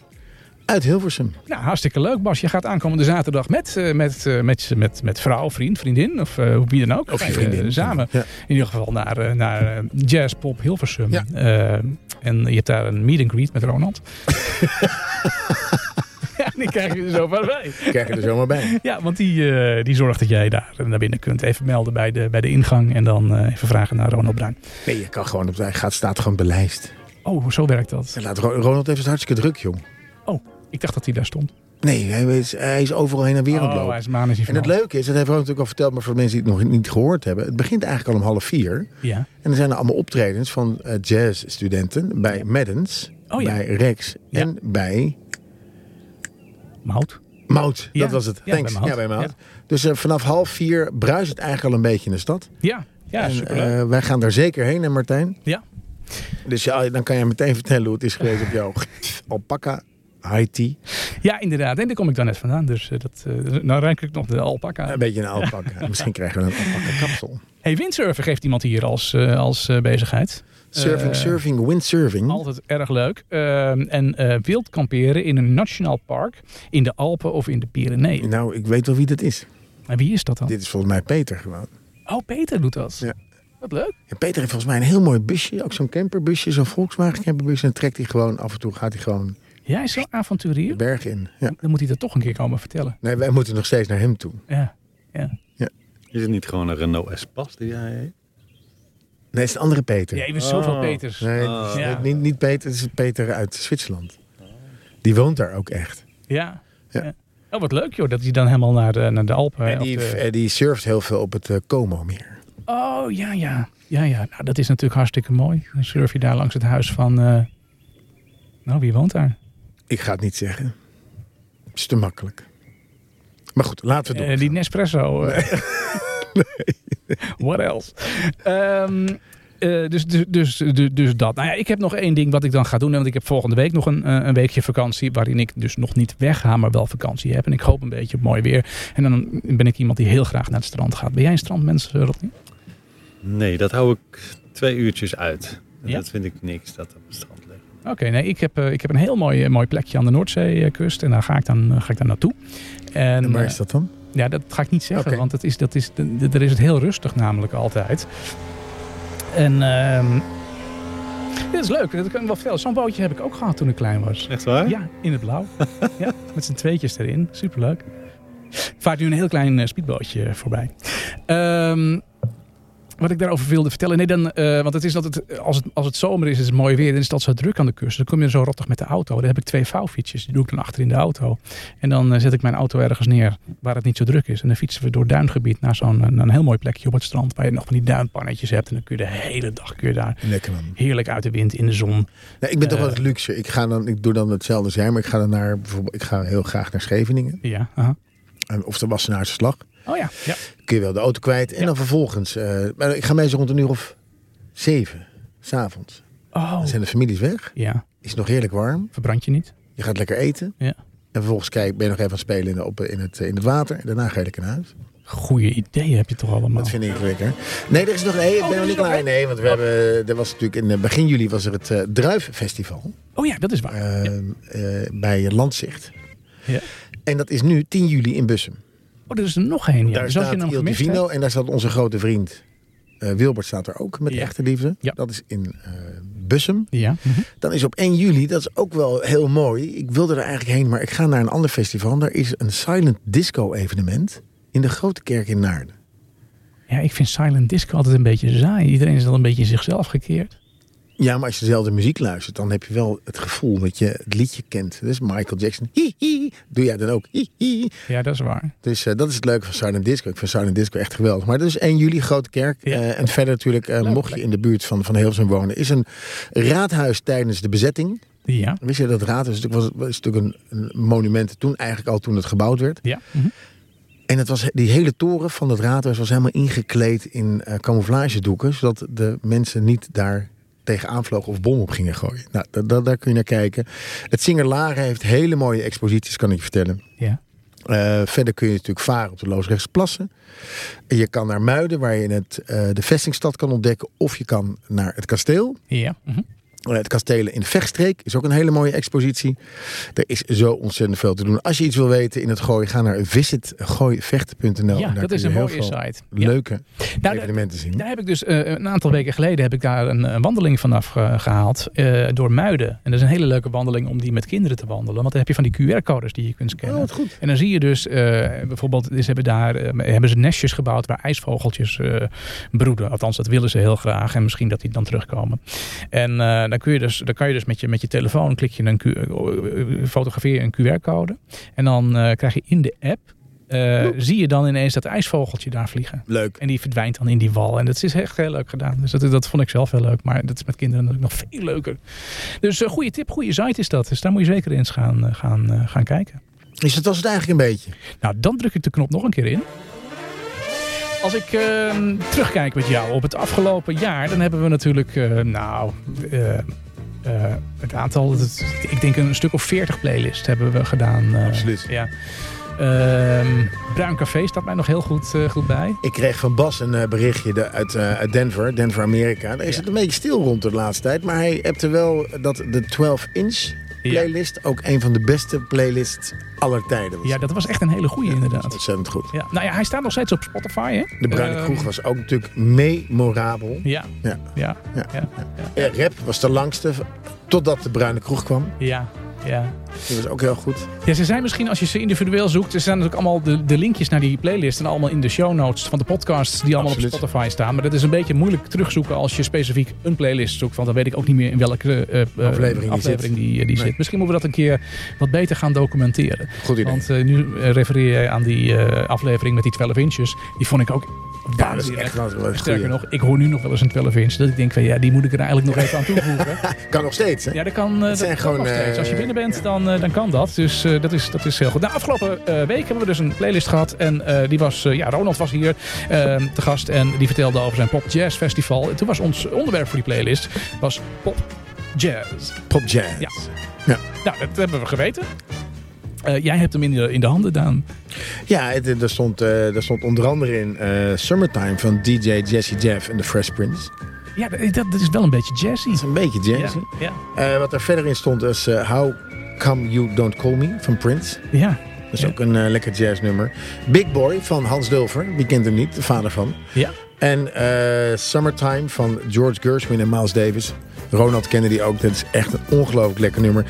Speaker 2: Uit Hilversum.
Speaker 3: Nou, hartstikke leuk, Bas. Je gaat aankomende zaterdag met, eh, met, eh, met, met, met vrouw, vriend, vriendin of eh, hoe wie dan ook.
Speaker 2: Of je
Speaker 3: Eh,
Speaker 2: vriendin.
Speaker 3: samen.
Speaker 2: Ja.
Speaker 3: In ieder geval naar, eh, naar eh, Jazz Pop Hilversum.
Speaker 2: Ja.
Speaker 3: Eh, en je hebt daar een meet and greet met Ronald. (laughs) ja, die krijg je er zo van bij.
Speaker 2: Krijg je er zomaar bij.
Speaker 3: Ja, want die, eh, die zorgt dat jij daar naar binnen kunt. Even melden bij de, bij de ingang en dan eh, even vragen naar Ronald Bruin.
Speaker 2: Nee, je kan gewoon op... Hij gaat, staat gewoon belijst.
Speaker 3: Oh, zo werkt dat.
Speaker 2: En laat Ro- Ronald heeft het hartstikke druk, jong.
Speaker 3: Oh, ik dacht dat hij daar stond.
Speaker 2: Nee, hij is, hij is overal heen en weer aan het
Speaker 3: Oh, hij
Speaker 2: lopen.
Speaker 3: is manisch. die
Speaker 2: En het
Speaker 3: vrouw.
Speaker 2: leuke is, dat heeft ook natuurlijk al verteld, maar voor de mensen die het nog niet gehoord hebben. Het begint eigenlijk al om half vier.
Speaker 3: Ja.
Speaker 2: En er zijn er allemaal optredens van eh, jazzstudenten bij Maddens,
Speaker 3: Oh ja.
Speaker 2: bij Rex
Speaker 3: Ja.
Speaker 2: en bij
Speaker 3: Mout.
Speaker 2: Mout.
Speaker 3: Ja.
Speaker 2: Dat was het.
Speaker 3: Ja,
Speaker 2: Thanks.
Speaker 3: bij Mout.
Speaker 2: Ja, bij Mout.
Speaker 3: Ja.
Speaker 2: Dus eh, vanaf half vier bruist het eigenlijk al een beetje in de stad.
Speaker 3: Ja, ja
Speaker 2: en,
Speaker 3: superleuk.
Speaker 2: eh, wij gaan daar zeker heen, hè Martijn?
Speaker 3: ja.
Speaker 2: Dus ja, dan kan jij meteen vertellen hoe het is geweest op
Speaker 3: (laughs)
Speaker 2: jouw alpaca Haiti.
Speaker 3: ja, inderdaad. En daar kom ik dan net vandaan. Dus eh, dat, eh, nou ruik ik nog de alpaca.
Speaker 2: Een beetje een alpaca. Misschien krijgen we een alpaca kapsel.
Speaker 3: hey, windsurfen geeft iemand hier als, eh, als eh, bezigheid.
Speaker 2: Surfing,
Speaker 3: Eh,
Speaker 2: surfing, windsurfing.
Speaker 3: Altijd erg leuk. Ehm, en eh, wild kamperen in een nationaal park in de Alpen of in de Pyreneeën.
Speaker 2: Nou, ik weet wel wie dat is.
Speaker 3: En wie is dat dan?
Speaker 2: Dit is volgens mij Peter gewoon.
Speaker 3: Oh, Peter doet dat.
Speaker 2: Ja.
Speaker 3: Wat leuk.
Speaker 2: En Peter heeft volgens mij een heel mooi busje. Ook zo'n camperbusje, zo'n Volkswagen camperbusje. En trekt hij gewoon, af en toe gaat hij gewoon
Speaker 3: Jij is zo'n
Speaker 2: de
Speaker 3: avonturier.
Speaker 2: berg in. Ja.
Speaker 3: Dan moet hij dat toch een keer komen vertellen.
Speaker 2: Nee, wij moeten nog steeds naar hem toe.
Speaker 3: Ja. ja.
Speaker 4: Is het niet gewoon een Renault Espace die jij heeft?
Speaker 2: Nee, het is een andere Peter.
Speaker 3: Ja, even
Speaker 4: Oh.
Speaker 3: zoveel Peters.
Speaker 2: Nee, het is
Speaker 3: Oh. Ja.
Speaker 2: niet, niet Peter, het is Peter uit Zwitserland. Die woont daar ook echt.
Speaker 3: Ja.
Speaker 2: Ja.
Speaker 3: Ja. Oh, wat leuk joh, dat hij dan helemaal naar de, naar de Alpen...
Speaker 2: en
Speaker 3: of
Speaker 2: die,
Speaker 3: de-
Speaker 2: en die surft heel veel op het eh, Como-meer.
Speaker 3: Oh, ja, ja. Ja, ja. Nou, dat is natuurlijk hartstikke mooi. Dan surf je daar langs het huis van... eh, Nou, wie woont daar?
Speaker 2: Ik ga het niet zeggen. Het is te makkelijk. Maar goed, laten we
Speaker 3: Eh,
Speaker 2: het doen.
Speaker 3: die Nespresso. eh. (laughs) What else? Ehm, eh, dus, dus, dus, dus, dus dat. Nou ja, ik heb nog één ding wat ik dan ga doen. Want ik heb volgende week nog een, eh, een weekje vakantie. Waarin ik dus nog niet weg ga, maar wel vakantie heb. En ik hoop een beetje op mooi weer. En dan ben ik iemand die heel graag naar het strand gaat. Ben jij een strandmens, eh, Rodney?
Speaker 4: Nee, dat hou ik twee uurtjes uit. En
Speaker 3: Ja?
Speaker 4: Dat vind ik niks, dat op het strand liggen.
Speaker 3: Oké, nee, ik heb, eh, ik heb een heel mooi, eh, mooi plekje aan de Noordzeekust. En daar ga ik dan, eh, ga ik dan naartoe. En,
Speaker 2: En waar
Speaker 3: eh,
Speaker 2: is dat dan?
Speaker 3: Ja, dat ga ik niet zeggen,
Speaker 2: Oké.
Speaker 3: want het is, dat is, d- d- daar is het heel rustig namelijk altijd. En ehm, Dit is leuk, dat kan ik wel vertellen. Zo'n bootje heb ik ook gehad toen ik klein was.
Speaker 4: Echt waar?
Speaker 3: Ja, in het (laughs) blauw. ja, met z'n tweetjes erin. Superleuk. Vaart nu een heel klein eh, speedbootje voorbij. Ehm, wat ik daarover wilde vertellen. Nee, dan, eh, want het is altijd, eh, als, het, als het zomer is, is het mooi weer. Dan is het altijd zo druk aan de kust. Dan kom je zo rottig met de auto. Dan heb ik twee vouwfietsjes. Die doe ik dan achter in de auto. En dan eh, zet ik mijn auto ergens neer waar het niet zo druk is. En dan fietsen we door duingebied naar zo'n eh, naar een heel mooi plekje op het strand. Waar je nog van die duinpannetjes hebt. En dan kun je de hele dag kun je daar
Speaker 2: Lekker man.
Speaker 3: heerlijk uit de wind in de zon.
Speaker 2: Nee, ik ben toch
Speaker 3: Eh.
Speaker 2: wel het luxe. Ik, ga dan, ik doe dan hetzelfde als jij, maar ik ga dan naar, bijvoorbeeld, ik ga heel graag naar Scheveningen.
Speaker 3: Ja, aha.
Speaker 2: En, Eh, of de Wassenaarse Slag.
Speaker 3: Oh ja, ja.
Speaker 2: Kun je wel de auto kwijt. En
Speaker 3: Ja.
Speaker 2: dan vervolgens, eh, maar ik ga meestal rond een uur of zeven, s'avonds.
Speaker 3: Oh.
Speaker 2: Dan zijn de families weg.
Speaker 3: Ja,
Speaker 2: Is het nog heerlijk warm.
Speaker 3: verbrand je niet.
Speaker 2: Je gaat lekker eten.
Speaker 3: Ja.
Speaker 2: En vervolgens kijk, ben je nog even aan het spelen in, de- op, in, het, eh, in het water. En daarna ga je lekker naar huis.
Speaker 3: Goeie ideeën heb je toch allemaal.
Speaker 2: Dat vind ik lekker. Nee, er is nog. Nee, ik
Speaker 3: Oh,
Speaker 2: ben
Speaker 3: er
Speaker 2: nog
Speaker 3: is
Speaker 2: niet
Speaker 3: nog
Speaker 2: klaar.
Speaker 3: één.
Speaker 2: Nee, want we hebben. Er was natuurlijk in eh, begin juli was er het eh, Druiffestival.
Speaker 3: Oh ja, dat is waar.
Speaker 2: eh, eh, bij Landzicht.
Speaker 3: Ja.
Speaker 2: En dat is nu 10 juli in Bussum.
Speaker 3: Oh, er is er nog één.
Speaker 2: daar
Speaker 3: Ja. Dus als je
Speaker 2: staat
Speaker 3: hem
Speaker 2: Il
Speaker 3: gemist
Speaker 2: Divino
Speaker 3: hebt,
Speaker 2: en daar staat onze grote vriend. eh, Wilbert staat er ook met
Speaker 3: Ja.
Speaker 2: echte liefde.
Speaker 3: Ja.
Speaker 2: Dat is in eh Bussum.
Speaker 3: Ja. mhm.
Speaker 2: Dan is op 1 juli, dat is ook wel heel mooi. Ik wilde er eigenlijk heen, maar ik ga naar een ander festival. Daar is een silent disco evenement in de Grote Kerk in Naarden.
Speaker 3: ja, ik vind silent disco altijd een beetje saai. Iedereen is dan een beetje in zichzelf gekeerd.
Speaker 2: Ja, maar als je dezelfde muziek luistert, dan heb je wel het gevoel dat je het liedje kent. Dus Michael Jackson, hi hi, doe jij dan ook hi hi.
Speaker 3: Ja, dat is waar.
Speaker 2: Dus eh, dat is het leuke van Silent Disco. Ik vind Silent Disco echt geweldig. Maar dat is 1 juli, Grote Kerk.
Speaker 3: Ja.
Speaker 2: Eh, en verder natuurlijk, eh, mocht je in de buurt van, van Hilversum wonen, is een raadhuis tijdens de bezetting.
Speaker 3: Ja.
Speaker 2: Wist je dat raadhuis natuurlijk was, was natuurlijk een, een monument toen, eigenlijk al toen het gebouwd werd.
Speaker 3: Ja. mhm.
Speaker 2: En het was, die hele toren van het raadhuis was helemaal ingekleed in eh camouflagedoeken. Zodat de mensen niet daar tegenaan vlogen of bom op gingen gooien. Nou, da- da- daar kun je naar kijken. Het Singer Laren heeft hele mooie exposities, kan ik je vertellen.
Speaker 3: Ja.
Speaker 2: Eh, verder kun je natuurlijk varen op de Loosrechtsplassen. En Je kan naar Muiden, waar je het, eh, de vestingstad kan ontdekken. Of je kan naar het kasteel.
Speaker 3: Ja. mhm.
Speaker 2: Eh, Het kastelen in de Vechtstreek is ook een hele mooie expositie. Er is zo ontzettend veel te doen. Als je iets wil weten in het gooien, ga naar visitgooivechten.nl.
Speaker 3: Ja,
Speaker 2: En Nou, daar
Speaker 3: dat
Speaker 2: kun
Speaker 3: is
Speaker 2: je
Speaker 3: een
Speaker 2: heel
Speaker 3: mooie
Speaker 2: veel
Speaker 3: site. Ja.
Speaker 2: Leuke
Speaker 3: Nou, daar-
Speaker 2: evenementen zien.
Speaker 3: Daar heb ik dus eh, een aantal weken geleden heb ik daar een, eh, wandeling vanaf ge- gehaald eh, door Muiden. En dat is een hele leuke wandeling om die met kinderen te wandelen. Want dan heb je van die QR-codes die je kunt scannen.
Speaker 2: goed.
Speaker 3: En dan zie je dus eh, bijvoorbeeld, ze hebben daar eh, hebben ze nestjes gebouwd waar ijsvogeltjes eh, broeden. Althans, dat willen ze heel graag. En misschien dat die dan terugkomen. En eh, dan, kun je dus, dan kan je dus met je, met je telefoon klik je een Q- eh, fotografeer je een QR-code. En dan eh, krijg je in de app. eh, zie je dan ineens dat ijsvogeltje daar vliegen.
Speaker 2: Leuk.
Speaker 3: En die verdwijnt dan in die wal. En dat is echt heel leuk gedaan. Dus dat, dat vond ik zelf heel leuk. Maar dat is met kinderen natuurlijk nog veel leuker. Dus een goede tip, goede site is dat. Dus daar moet je zeker eens gaan, eh, gaan, eh, gaan kijken.
Speaker 2: Dus dat was het eigenlijk een beetje.
Speaker 3: Nou, dan druk ik de knop nog een keer in. Als ik ehm, terugkijk met jou op het afgelopen jaar, dan hebben we natuurlijk, eh, nou, eh, eh, het aantal, het- ik denk een stuk of 40 playlists hebben we gedaan. eh,
Speaker 2: Absoluut.
Speaker 3: Ja. Ehm, Bruin Café staat mij nog heel goed, eh, goed bij.
Speaker 2: Ik kreeg van Bas een eh, berichtje de- uit, eh, uit Denver, Denver, Amerika. Daar is
Speaker 3: Ja.
Speaker 2: het een beetje stil rond de laatste tijd. Maar hij hebt er wel dat de 12-inch
Speaker 3: Ja.
Speaker 2: playlist ook een van de beste playlists aller tijden was.
Speaker 3: Ja, dat was echt een hele goede
Speaker 2: Dat is
Speaker 3: inderdaad.
Speaker 2: ontzettend goed.
Speaker 3: Ja. Nou ja, hij staat nog steeds op Spotify, hè?
Speaker 2: De Bruine
Speaker 3: Ehm,
Speaker 2: Kroeg was ook natuurlijk memorabel.
Speaker 3: Ja,
Speaker 2: Ja.
Speaker 3: ja,
Speaker 2: Ja.
Speaker 3: ja,
Speaker 2: Eh, rap was de langste, v- totdat de Bruine Kroeg kwam.
Speaker 3: ja, ja.
Speaker 2: Die was ook heel goed.
Speaker 3: Ja, ze zijn misschien, als je ze individueel zoekt, er zijn natuurlijk allemaal de, de linkjes naar die playlist en allemaal in de show notes van de podcasts die allemaal op
Speaker 2: Absoluut.
Speaker 3: Spotify staan. Maar dat is een beetje moeilijk terugzoeken als je specifiek een playlist zoekt, want dan weet ik ook niet meer in welke eh, eh,
Speaker 2: Aflevering die
Speaker 3: aflevering die, eh, die
Speaker 2: Nee.
Speaker 3: zit. Misschien moeten we dat een keer wat beter gaan documenteren.
Speaker 2: Goed idee.
Speaker 3: Want eh, nu eh, refereer je aan die eh, aflevering met die 12 inches. Die vond ik ook
Speaker 2: ja, dat is
Speaker 3: waanzinnig.
Speaker 2: echt wel wel een
Speaker 3: Sterker
Speaker 2: goeie.
Speaker 3: nog, ik hoor nu nog wel eens een 12 inch. Dat ik denk van ja, die moet ik er eigenlijk nog even aan
Speaker 2: (laughs)
Speaker 3: toevoegen.
Speaker 2: Kan nog steeds, hè?
Speaker 3: Ja, dat kan, eh, dat
Speaker 2: zijn
Speaker 3: kan
Speaker 2: gewoon,
Speaker 3: nog steeds.
Speaker 2: eh,
Speaker 3: Als je binnen bent, dan, eh, dan kan dat. Dus eh, dat, is, dat is heel goed. Nou, afgelopen eh, week hebben we dus een playlist gehad. En eh, die was, eh, ja, Ronald was hier eh, te gast. En die vertelde over zijn Pop Jazz Festival. En toen was ons onderwerp voor die playlist was Pop Jazz.
Speaker 2: Pop jazz.
Speaker 3: Ja.
Speaker 2: Ja.
Speaker 3: Nou, dat hebben we geweten. Eh, jij hebt hem in de, in de handen, Daan.
Speaker 2: Ja, het- eh, daar stond, eh, daar stond onder andere in eh, Summertime van DJ Jesse Jeff en The Fresh Prince. Dat
Speaker 3: Ja, dat, dat is wel een beetje jazzy.
Speaker 2: is een beetje
Speaker 3: Ja,
Speaker 2: jazz.
Speaker 3: ja,
Speaker 2: Eh, wat er verder in stond is eh, How Come You Don't Call Me van Prince.
Speaker 3: ja,
Speaker 2: Dat is
Speaker 3: Ja.
Speaker 2: ook een eh, lekker jazznummer. Big Boy van Hans Dulfer, wie kent hem niet, de vader van.
Speaker 3: ja.
Speaker 2: Eh, En eh, Summertime van George Gershwin en Miles Davis. Ronald Kennedy ook. Dat is echt een ongelooflijk lekker nummer.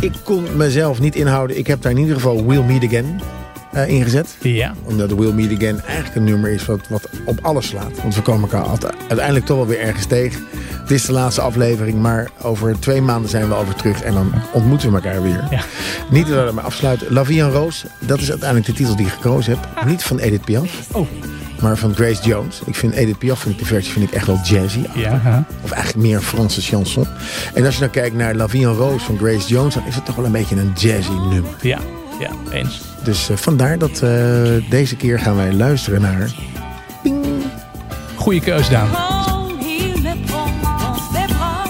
Speaker 2: Ik kon mezelf niet inhouden. Ik heb daar in ieder geval We'll Meet Again eh, ingezet.
Speaker 3: Ja.
Speaker 2: Omdat We'll Meet Again eigenlijk een nummer is wat, wat op alles slaat. Want we komen elkaar altijd- uiteindelijk toch wel weer ergens tegen. Het is de laatste aflevering, maar over twee maanden zijn we alweer terug. En dan ontmoeten we elkaar weer.
Speaker 3: Ja.
Speaker 2: Niet dat we daarmee afsluiten. La Vie en Roos, dat is uiteindelijk de titel die ik gekozen heb. Niet van Edith Piaf,
Speaker 3: Oh,
Speaker 2: maar van Grace Jones. Ik vind Edith Piaf, vind ik de versie vind ik echt wel jazzy.
Speaker 3: ja. hè.
Speaker 2: Of eigenlijk meer een Franse chanson. En als je dan kijkt naar La Vie en Roos van Grace Jones... dan is het toch wel een beetje een jazzy nummer.
Speaker 3: Ja, ja, eens.
Speaker 2: Dus eh, vandaar dat eh, deze keer gaan wij luisteren naar... Ping!
Speaker 3: Goeie keus, Daan.
Speaker 5: Quand il me prend dans ses bras,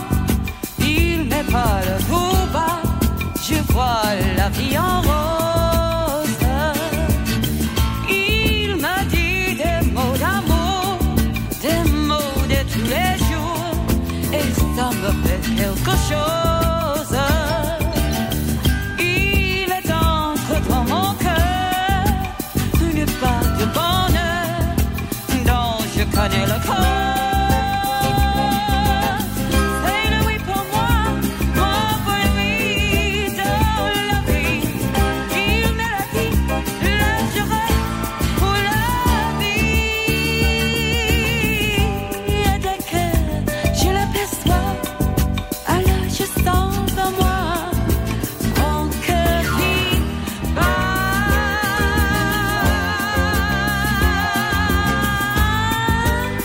Speaker 5: il me parle tout bas. Je vois la vie en rose. Il m'a dit des mots d'amour, des mots de tous les jours, et ça me fait quelque chose. Il est ancré dans mon cœur, une part de bonheur dont je connais le cause. C'est le oui pour moi, moi pour lui de la vie. Il me l'a dit, le je rêve pour la vie. Et dès que je l'aperçois, alors je sens en moi mon cœur qui bat.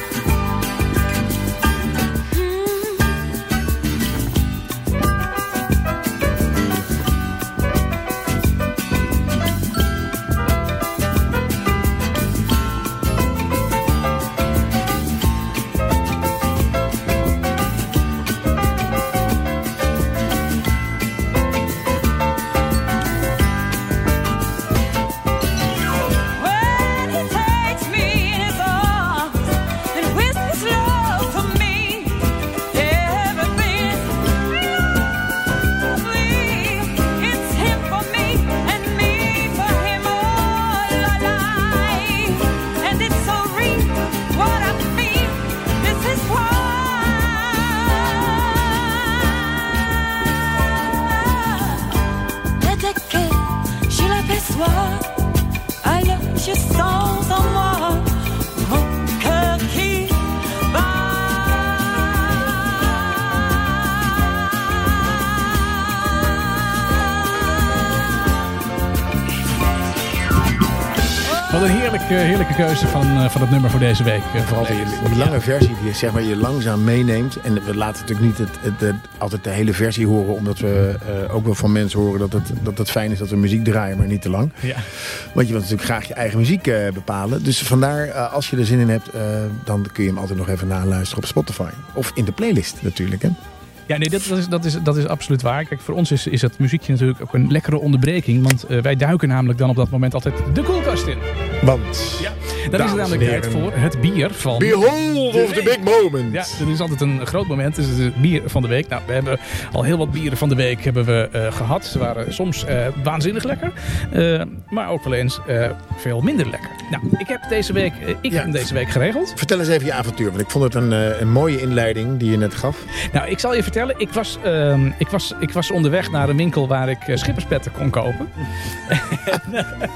Speaker 5: When he takes me in his arms and whispers love for me, everything's lovely. It's him for me and me for him all our life, and it's so real what I feel. This is why. Et dès que je l'aperçois. Alors je sens en moi mon cœur qui bat.
Speaker 3: Wat een heerlijke, heerlijke keuze van, eh, van het nummer voor deze week. eh, Vooral die,
Speaker 2: Die lange versie die zeg maar, je langzaam meeneemt. En we laten natuurlijk niet het, het, het- altijd de hele versie horen. Omdat we eh, ook wel van mensen horen dat het, dat het fijn is dat we muziek draaien. Maar niet te lang.
Speaker 3: Ja.
Speaker 2: Want je wilt natuurlijk graag je eigen muziek eh, bepalen. Dus vandaar, eh, als je er zin in hebt, eh, dan kun je hem altijd nog even naluisteren op Spotify. Of in de playlist natuurlijk. Hè?
Speaker 3: Ja, nee, dat, dat, is, dat, is, dat is absoluut waar. Kijk, voor ons is, is dat muziekje natuurlijk ook een lekkere onderbreking. Want eh, wij duiken namelijk dan op dat moment altijd de koelkast in.
Speaker 2: Want...
Speaker 3: Ja, daar
Speaker 2: Dames
Speaker 3: is het
Speaker 2: en
Speaker 3: namelijk tijd
Speaker 2: heren.
Speaker 3: voor het bier van...
Speaker 2: Behold of the big moment!
Speaker 3: Ja, dat is altijd een groot moment. Dus het is het bier van de week. Nou, we hebben al heel wat bieren van de week hebben we, eh, gehad. Ze waren soms eh, waanzinnig lekker. eh, maar ook wel eens eh, veel minder lekker. Nou, ik heb deze week, eh, ik
Speaker 2: Ja.
Speaker 3: heb hem deze week geregeld.
Speaker 2: Vertel eens even je avontuur. Want ik vond het een, eh, een mooie inleiding die je net gaf.
Speaker 3: Nou, ik zal je vertellen. Ik was, ehm, ik was, ik was onderweg naar een winkel waar ik eh, schipperspetten kon kopen. (laughs)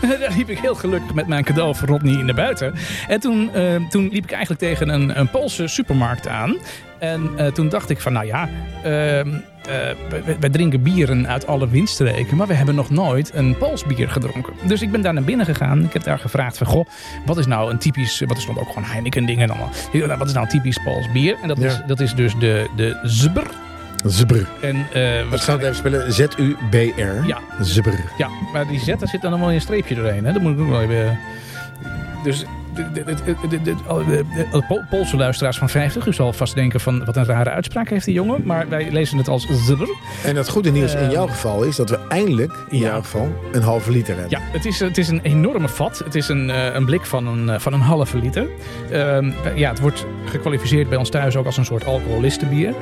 Speaker 3: en, daar liep ik heel gelukkig met mijn cadeau voor Rodney naar buiten. En toen, ehm, toen liep ik eigenlijk tegen een, een Poolse supermarkt aan. En eh, toen dacht ik van, nou ja, ehm, eh, wij- wij drinken bieren uit alle windstreken, maar we hebben nog nooit een Pools bier gedronken. Dus ik ben daar naar binnen gegaan. Ik heb daar gevraagd van, goh, wat is nou een typisch, wat er stond ook gewoon Heineken dingen en allemaal. Ik dacht, nou, Wat is nou een typisch Pools bier? En dat, is,
Speaker 2: Ja.
Speaker 3: dat is dus de, de Zbr.
Speaker 2: Zbr.
Speaker 3: En eh,
Speaker 2: Ik zal het even spelen. Z-U-B-R.
Speaker 3: Ja.
Speaker 2: Zbr.
Speaker 3: Ja, maar die Z, daar zit dan nog wel een streepje doorheen. Hè? Dat moet ik ook wel even... Dus de, de, de, de, de, de- de- de Pool- Poolse luisteraars van 50 u zal vast denken van... wat een rare uitspraak heeft die jongen. Maar wij lezen het als zbr.
Speaker 2: En het goede nieuws in
Speaker 3: Ehm,
Speaker 2: jouw geval is dat we eindelijk, in
Speaker 3: ja.
Speaker 2: jouw geval, een halve liter hebben.
Speaker 3: Ja, het is, het is een enorme vat. Het is een, eh, een blik van een, eh, van een halve liter. Ehm, ja, het wordt gekwalificeerd bij ons thuis ook als een soort alcoholistenbier.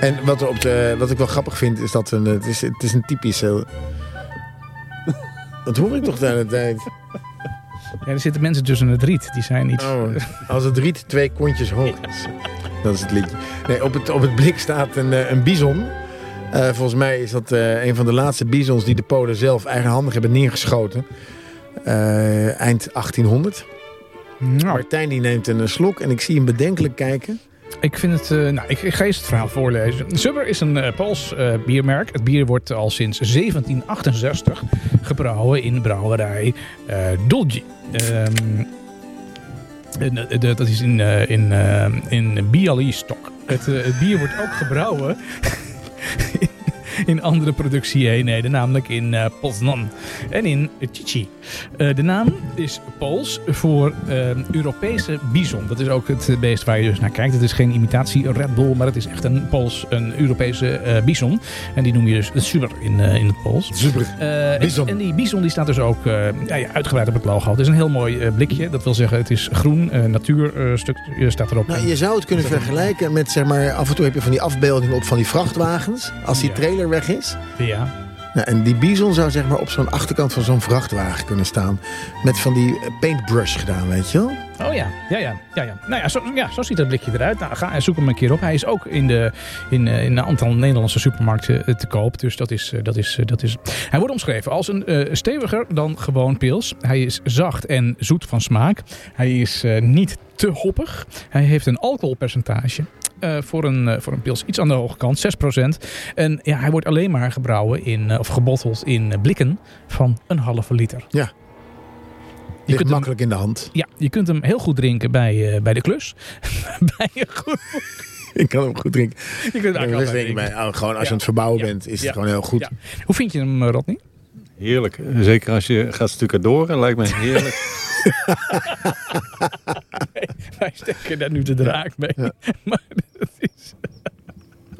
Speaker 2: En wat, er op de, wat ik wel grappig vind, is dat een, het, is, het
Speaker 3: (laughs) (laughs)
Speaker 2: is een typische... Dat hoor ik toch de hele tijd.
Speaker 3: Ja, er zitten mensen tussen het riet. Die zijn iets.
Speaker 2: Oh, als het riet twee kontjes hoog is. Dat is het liedje. Nee, op, het, op het blik staat een, eh, een bison. Eh, volgens mij is dat eh, een van de laatste bisons die de Polen zelf eigenhandig hebben neergeschoten. Eh, eind 1800.
Speaker 3: Nou,
Speaker 2: Martijn die neemt een eh, slok en ik zie hem bedenkelijk kijken.
Speaker 3: ik vind het. eh, nou, ik, ik ga eens het verhaal voorlezen. Subber is een eh, Pools eh, biermerk. Het bier wordt al sinds 1768 gebrouwen in brouwerij eh Dolgi. Ehm, en, eh, dat- dat is in, eh, in, eh, in Bialystok. Het, eh, het bier wordt ook gebrouwen (laughs) in andere productieeenheden, namelijk in eh, Poznan en in Chichi. Eh, de naam is Pools voor eh, Europese bison. Dat is ook het eh, beest waar je dus naar kijkt. Het is geen imitatie Red Bull, maar het is echt een Pools, een Europese eh, bison. En die noem je dus een super in, eh, in het Pools.
Speaker 2: Super.
Speaker 3: Eh, en-
Speaker 2: Bison.
Speaker 3: En die bison die staat dus ook eh, ja, ja, uitgebreid op het logo. Het is een heel mooi eh, blikje. Dat wil zeggen, het is groen, eh natuurstuk staat erop.
Speaker 2: Nou, je zou het kunnen vergelijken met, zeg maar, af en toe heb je van die afbeeldingen op van die vrachtwagens. Als die
Speaker 3: Ja.
Speaker 2: trailer weg is.
Speaker 3: Ja.
Speaker 2: Nou, en die bison zou zeg maar op zo'n achterkant van zo'n vrachtwagen kunnen staan. Met van die eh, paintbrush gedaan, weet je wel?
Speaker 3: Oh ja, ja, ja. ja, ja. Nou ja zo, ja, zo ziet dat blikje eruit. Nou, ga en zoek hem een keer op. Hij is ook in, de, in, eh, in een aantal Nederlandse supermarkten eh, te koop. Dus dat is, eh, dat is, eh, dat is... Hij wordt omschreven als een eh, steviger dan gewoon pils. Hij is zacht en zoet van smaak. Hij is eh, niet te hoppig. Hij heeft een alcoholpercentage. eh, voor, een, eh, voor een pils iets aan de hoge kant, 6%. En ja, hij wordt alleen maar gebrouwen in, eh, of gebotteld in eh, blikken van een halve liter.
Speaker 2: Ja. Ligt
Speaker 3: kunt hem-
Speaker 2: makkelijk in de hand. (laughs)
Speaker 3: Ja, je kunt hem heel goed drinken bij, eh, bij de klus. (laughs) bij een goed,
Speaker 2: Ik kan hem goed drinken.
Speaker 3: je kunt hem
Speaker 2: Maar
Speaker 3: eigenlijk
Speaker 2: dat is
Speaker 3: altijd
Speaker 2: denk ik
Speaker 3: drinken.
Speaker 2: bij, oh, gewoon als je
Speaker 3: Ja.
Speaker 2: aan het verbouwen
Speaker 3: Ja.
Speaker 2: bent, is
Speaker 3: Ja.
Speaker 2: het gewoon heel goed.
Speaker 3: Ja. Hoe vind je hem, eh, Rodney? (laughs)
Speaker 4: Heerlijk. Zeker als je gaat stucadoren, lijkt me heerlijk.
Speaker 3: Wij steken daar nu de draak mee. Ja, (laughs) maar dat is...
Speaker 4: (laughs)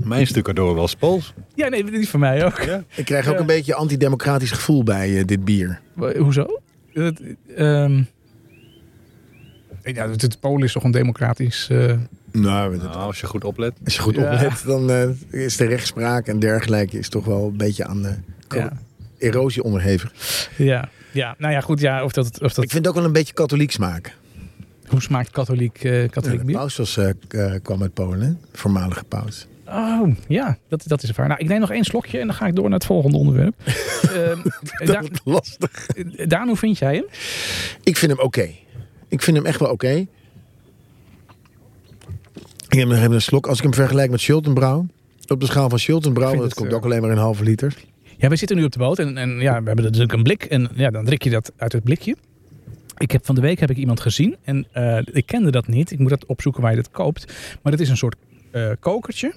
Speaker 4: Mijn stucadoor was Pools.
Speaker 3: ja nee, die is van mij ook.
Speaker 2: Ik krijg ook
Speaker 3: Ja.
Speaker 2: een beetje antidemocratisch gevoel bij eh, dit bier.
Speaker 3: Maar Hoezo? Dat, ehm, Ja, het- het Polen is toch een democratisch... eh,
Speaker 2: Nou,
Speaker 4: Nou, als je goed oplet.
Speaker 2: als je goed
Speaker 3: Ja.
Speaker 2: oplet, dan eh, is de rechtspraak en dergelijke is toch wel een beetje aan eh,
Speaker 3: ja.
Speaker 2: erosie onderhevig.
Speaker 3: Ja. ja, nou ja, goed. Ja, of dat, of dat,
Speaker 2: Ik vind het ook wel een beetje katholiek smaak.
Speaker 3: Hoe smaakt katholiek, eh,
Speaker 2: Ja,
Speaker 3: katholiek
Speaker 2: de
Speaker 3: bier?
Speaker 2: paus was, eh, k- eh, kwam uit Polen, hè? voormalige paus. (laughs)
Speaker 3: Oh, ja, dat, dat is waar. Nou, ik neem nog één slokje en dan ga ik door naar het volgende
Speaker 2: (laughs)
Speaker 3: onderwerp. Ehm, daar,
Speaker 2: Lastig.
Speaker 3: Daan, hoe vind jij hem?
Speaker 2: Ik vind hem oké. Ik vind hem echt wel oké. Ik neem nog even een slok. Als ik hem vergelijk met Schultenbrouw, op de schaal van Schultenbrouw,
Speaker 3: Ik vind
Speaker 2: dat
Speaker 3: het,
Speaker 2: komt
Speaker 3: eh,
Speaker 2: ook alleen maar in halve liter.
Speaker 3: Ja, we zitten nu op de boot en, en ja, we hebben natuurlijk een blik. En ja, dan drink je dat uit het blikje. Ik heb, van de week heb ik iemand gezien en eh, ik kende dat niet. Ik moet dat opzoeken waar je dat koopt. Maar dat is een soort eh, kokertje.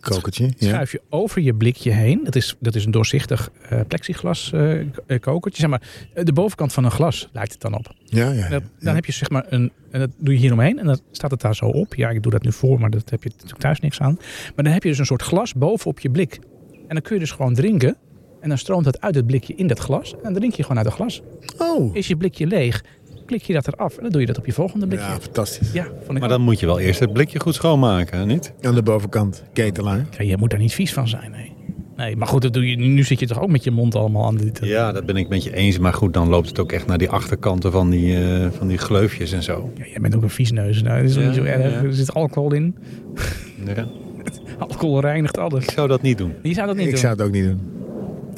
Speaker 2: Kokertje. Ja.
Speaker 3: Schuif je over je blikje heen. Dat is, dat is een doorzichtig eh, plexiglas eh, k- eh, kokertje. Zeg maar, eh, de bovenkant van een glas lijkt het dan op.
Speaker 2: Ja, ja,
Speaker 3: En
Speaker 2: ja.
Speaker 3: dat- dan heb je zeg maar een, en dat doe je hieromheen en dan staat het daar zo op. Ja, ik doe dat nu voor, maar dat heb je natuurlijk thuis niks aan. Maar dan heb je dus een soort glas bovenop je blik. En dan kun je dus gewoon drinken. En dan stroomt dat uit het blikje in dat glas. En dan drink je gewoon uit het glas.
Speaker 2: Oh.
Speaker 3: Is je blikje leeg, klik je dat eraf. En dan doe je dat op je volgende blikje.
Speaker 2: Ja,
Speaker 3: Ja,
Speaker 2: fantastisch.
Speaker 3: vond ik
Speaker 4: Maar
Speaker 3: ook.
Speaker 4: dan moet je wel eerst het blikje goed schoonmaken, hè, niet?
Speaker 2: Aan de bovenkant, ketelaar.
Speaker 3: Ja, je moet daar niet vies van zijn, nee. Nee, maar goed, dat doe je, nu zit je toch ook met je mond allemaal aan dit...
Speaker 4: Ja, dat ben ik met je eens. Maar goed, dan loopt het ook echt naar die achterkanten van die, eh, van die gleufjes en zo.
Speaker 3: Ja, jij bent ook een viesneus. Nou, dat is toch
Speaker 4: Ja,
Speaker 3: niet zo erg.
Speaker 4: ja.
Speaker 3: Er zit alcohol in.
Speaker 4: Ja.
Speaker 3: Alcohol reinigt alles.
Speaker 4: Ik zou dat niet doen.
Speaker 3: Je zou dat niet
Speaker 2: Ik
Speaker 3: doen.
Speaker 2: zou het ook niet doen.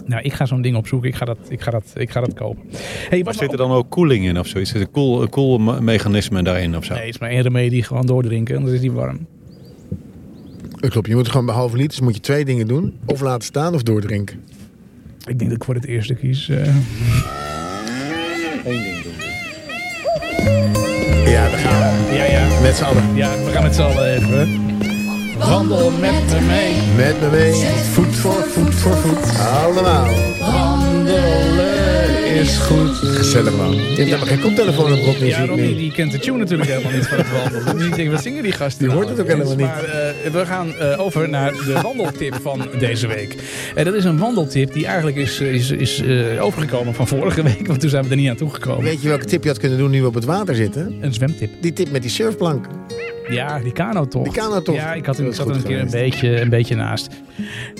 Speaker 3: Nou, ik ga zo'n ding opzoeken. Ik ga dat, ik ga dat, ik ga dat kopen. Hey,
Speaker 4: Maar
Speaker 3: wat
Speaker 4: zit er dan ook koeling in of zoiets? Zit er koel, koelmechanisme daarin of zo?
Speaker 3: Nee, het is maar één remedie. Gewoon doordrinken, anders is die warm.
Speaker 2: Dat klopt. Je moet gewoon bij halve liters moet je twee dingen doen. Of laten staan of doordrinken.
Speaker 3: Ik denk dat ik voor het eerste kies. eh.
Speaker 2: Ja, daar gaan
Speaker 3: Ja, ja,
Speaker 2: we. Met z'n allen.
Speaker 3: ja, we gaan het z'n allen even. Wandel met me mee.
Speaker 2: Met me mee. Voet voor voet voor voet. Allemaal.
Speaker 3: Wandelen is goed.
Speaker 2: Gezellig man. Je hebt helemaal geen koptelefoon op Rodney.
Speaker 3: Ja,
Speaker 2: zie ik nu.
Speaker 3: Ronnie, die kent de tune natuurlijk helemaal niet van het wandelen. Dus ik denk, wat zingen die gasten?
Speaker 2: Die
Speaker 3: nou?
Speaker 2: hoort het ook helemaal niet.
Speaker 3: Maar eh, we gaan eh, over naar de wandeltip van deze week. En dat is een wandeltip die eigenlijk is, is, is eh, overgekomen van vorige week. Want toen zijn we er niet aan toegekomen.
Speaker 2: Weet je welke tip je had kunnen doen nu we op het water zitten?
Speaker 3: Een zwemtip.
Speaker 2: Die tip met die surfplank.
Speaker 3: Ja, die kanotocht.
Speaker 2: Die kanotocht.
Speaker 3: Ja, ik had, hem-
Speaker 2: Dat
Speaker 3: ik
Speaker 2: is
Speaker 3: had er een
Speaker 2: goed
Speaker 3: keer een
Speaker 2: geweest.
Speaker 3: beetje, een beetje naast.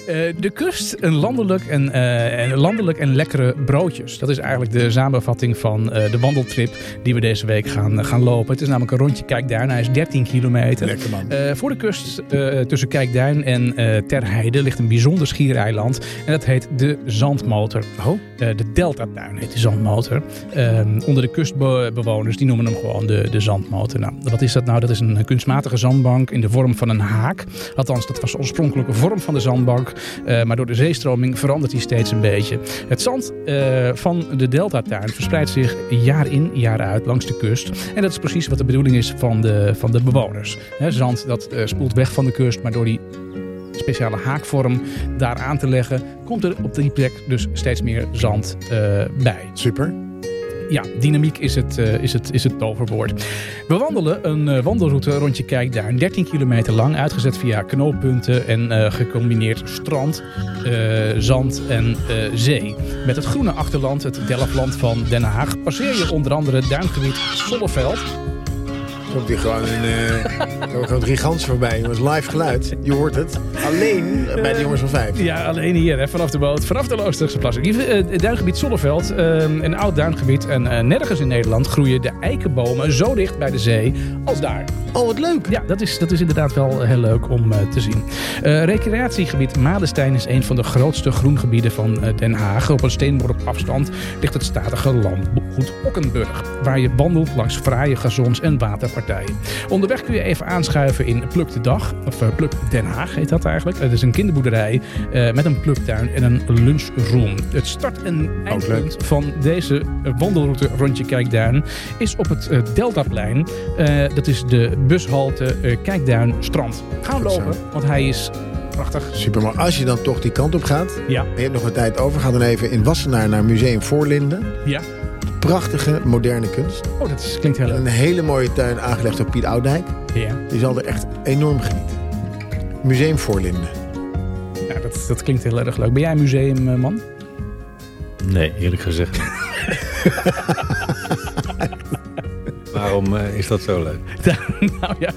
Speaker 3: Eh, de kust, een landelijk en, eh, en landelijk en lekkere broodjes. Dat is eigenlijk de samenvatting van eh, de wandeltrip die we deze week gaan, eh, gaan lopen. Het is namelijk een rondje Kijkduin. Hij is 13 kilometer.
Speaker 2: Lekker man.
Speaker 3: Eh, voor de kust eh, tussen Kijkduin en eh Terheide ligt een bijzonder schiereiland. En dat heet de Zandmotor.
Speaker 2: Oh.
Speaker 3: Eh, de Deltatuin heet de Zandmotor. Ehm, onder de kustbewoners, die noemen hem gewoon de, de Zandmotor. Nou, wat is dat nou? Dat is een kunstmatige zandbank in de vorm van een haak. Althans, dat was de oorspronkelijke vorm van de zandbank. Eh, maar door de zeestroming verandert die steeds een beetje. Het zand eh, van de Deltatuin verspreidt zich jaar in, jaar uit langs de kust. En dat is precies wat de bedoeling is van de, van de bewoners. Hè, zand dat eh, spoelt weg van de kust, maar door die speciale haakvorm daar aan te leggen, komt er op die plek dus steeds meer zand eh, bij.
Speaker 2: Super.
Speaker 3: Ja, dynamiek is het, eh, is het, is het toverwoord. We wandelen een eh, wandelroute rondje Kijkduin, 13 kilometer lang, uitgezet via knooppunten en eh, gecombineerd strand, eh, zand en eh, zee. Met het groene achterland, het Delftland van Den Haag, passeer je onder andere het duingebied Zonneveld.
Speaker 2: Komt hier gewoon een, eh, er komt gewoon drie ganzen voorbij. jongens. live geluid. Je hoort het. Alleen bij de jongens van vijf.
Speaker 3: Ja, alleen hier, hè, vanaf de boot, vanaf de Loosdrechtse plassen. Hier, eh, Het duingebied Zonneveld, eh, een oud duingebied. En eh, nergens in Nederland groeien de eikenbomen zo dicht bij de zee als daar.
Speaker 2: Oh, wat leuk.
Speaker 3: Ja, dat is, dat is inderdaad wel heel leuk om eh, te zien. Eh, recreatiegebied Madenstein is een van de grootste groengebieden van eh, Den Haag. Op een steenworp afstand ligt het statige landgoed Okkenburg, waar je wandelt langs fraaie gazons en waterpartijen. Onderweg kun je even aanschuiven in Pluk de Dag, of eh, Pluk Den Haag heet dat eigenlijk. Het is een kinderboerderij eh, met een pluktuin en een lunchroom. Het start- en eindpunt van deze eh, wandelroute rondje Kijkduin is op het eh, Deltaplein. Eh, dat is de bushalte eh, Kijkduin Strand. Gaan we
Speaker 2: Goed zo.
Speaker 3: lopen, want hij is prachtig.
Speaker 2: Super, maar als je dan toch die kant op gaat...
Speaker 3: Ja,
Speaker 2: en je hebt nog wat tijd over... ga dan even in Wassenaar naar Museum Voorlinden.
Speaker 3: ja.
Speaker 2: Prachtige, moderne kunst.
Speaker 3: Oh, dat is, klinkt heel leuk.
Speaker 2: Een hele mooie tuin aangelegd door Piet Oudijk.
Speaker 3: Ja,
Speaker 2: Die zal er echt enorm genieten. Museum Voorlinden.
Speaker 3: ja dat, dat klinkt heel erg leuk. Ben jij een
Speaker 2: (laughs)
Speaker 3: museumman?
Speaker 6: Nee, eerlijk gezegd.
Speaker 4: (laughs) Waarom eh, is dat zo leuk?
Speaker 3: nou ja.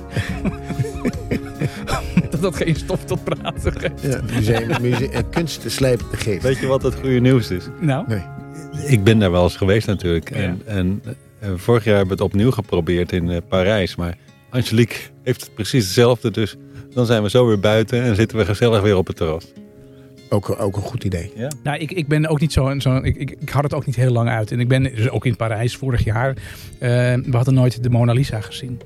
Speaker 3: (laughs) dat dat geen stof tot praten geeft.
Speaker 2: Ja, museum, muse- eh, kunst slijpt de geest.
Speaker 4: Weet je wat het goede nieuws is?
Speaker 3: Nou,
Speaker 2: Nee.
Speaker 4: Ik ben daar wel eens geweest natuurlijk. En, en, en vorig jaar hebben we het opnieuw geprobeerd in eh, Parijs. Maar Angelique heeft het precies hetzelfde. Dus dan zijn we zo weer buiten en zitten we gezellig weer op het terras.
Speaker 2: Ook, ook een goed idee.
Speaker 3: Nou, ik, ik ben ook niet zo'n. Zo, ik, ik, ik had het ook niet heel lang uit. En ik ben dus ook in Parijs vorig jaar. eh, we hadden nooit de Mona Lisa gezien.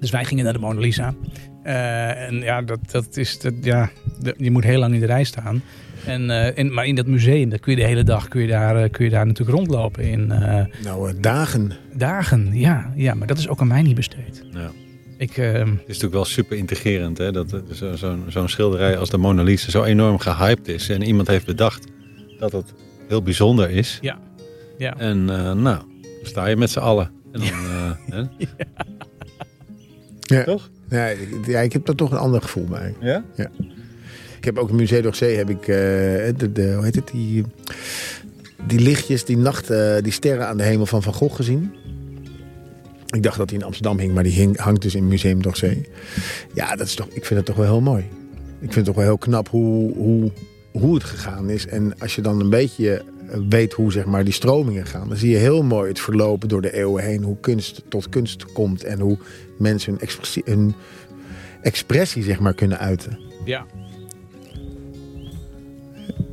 Speaker 3: Dus wij gingen naar de Mona Lisa. Eh, en ja, dat, dat is. Dat, ja, de- je moet heel lang in de rij staan. En, eh, en, maar in dat museum, daar kun je de hele dag kun je daar, eh, kun je daar natuurlijk rondlopen in eh,
Speaker 2: Nou, eh, dagen.
Speaker 3: dagen. Ja, ja, maar dat is ook aan mij niet besteed.
Speaker 4: Ja.
Speaker 3: Ik, eh,
Speaker 4: Het is natuurlijk wel super intrigerend hè? dat eh, zo- zo'n zo'n schilderij als de Mona Lisa zo enorm gehyped is. En iemand heeft bedacht dat het heel bijzonder is.
Speaker 3: Ja. Ja.
Speaker 4: En eh, nou, dan sta je met z'n allen. En dan, eh, hè?
Speaker 2: Ja.
Speaker 4: Toch?
Speaker 2: Ja, ik, ja, ik heb daar toch een ander gevoel bij.
Speaker 4: Ja?
Speaker 2: Ik heb ook in Museum Zee heb ik, eh, de, de, hoe heet het, die, die lichtjes, die nacht, eh, die sterren aan de hemel van Van Gogh gezien. Ik dacht dat die in Amsterdam hing, maar die hing, hangt dus in Museum Zee. Ja, dat is toch, ik vind het toch wel heel mooi. Ik vind het toch wel heel knap hoe, hoe, hoe het gegaan is. En als je dan een beetje eh, weet hoe zeg maar, die stromingen gaan, dan zie je heel mooi het verlopen door de eeuwen heen. Hoe kunst tot kunst komt en hoe mensen hun expressie, hun expressie zeg maar, kunnen uiten.
Speaker 3: ja.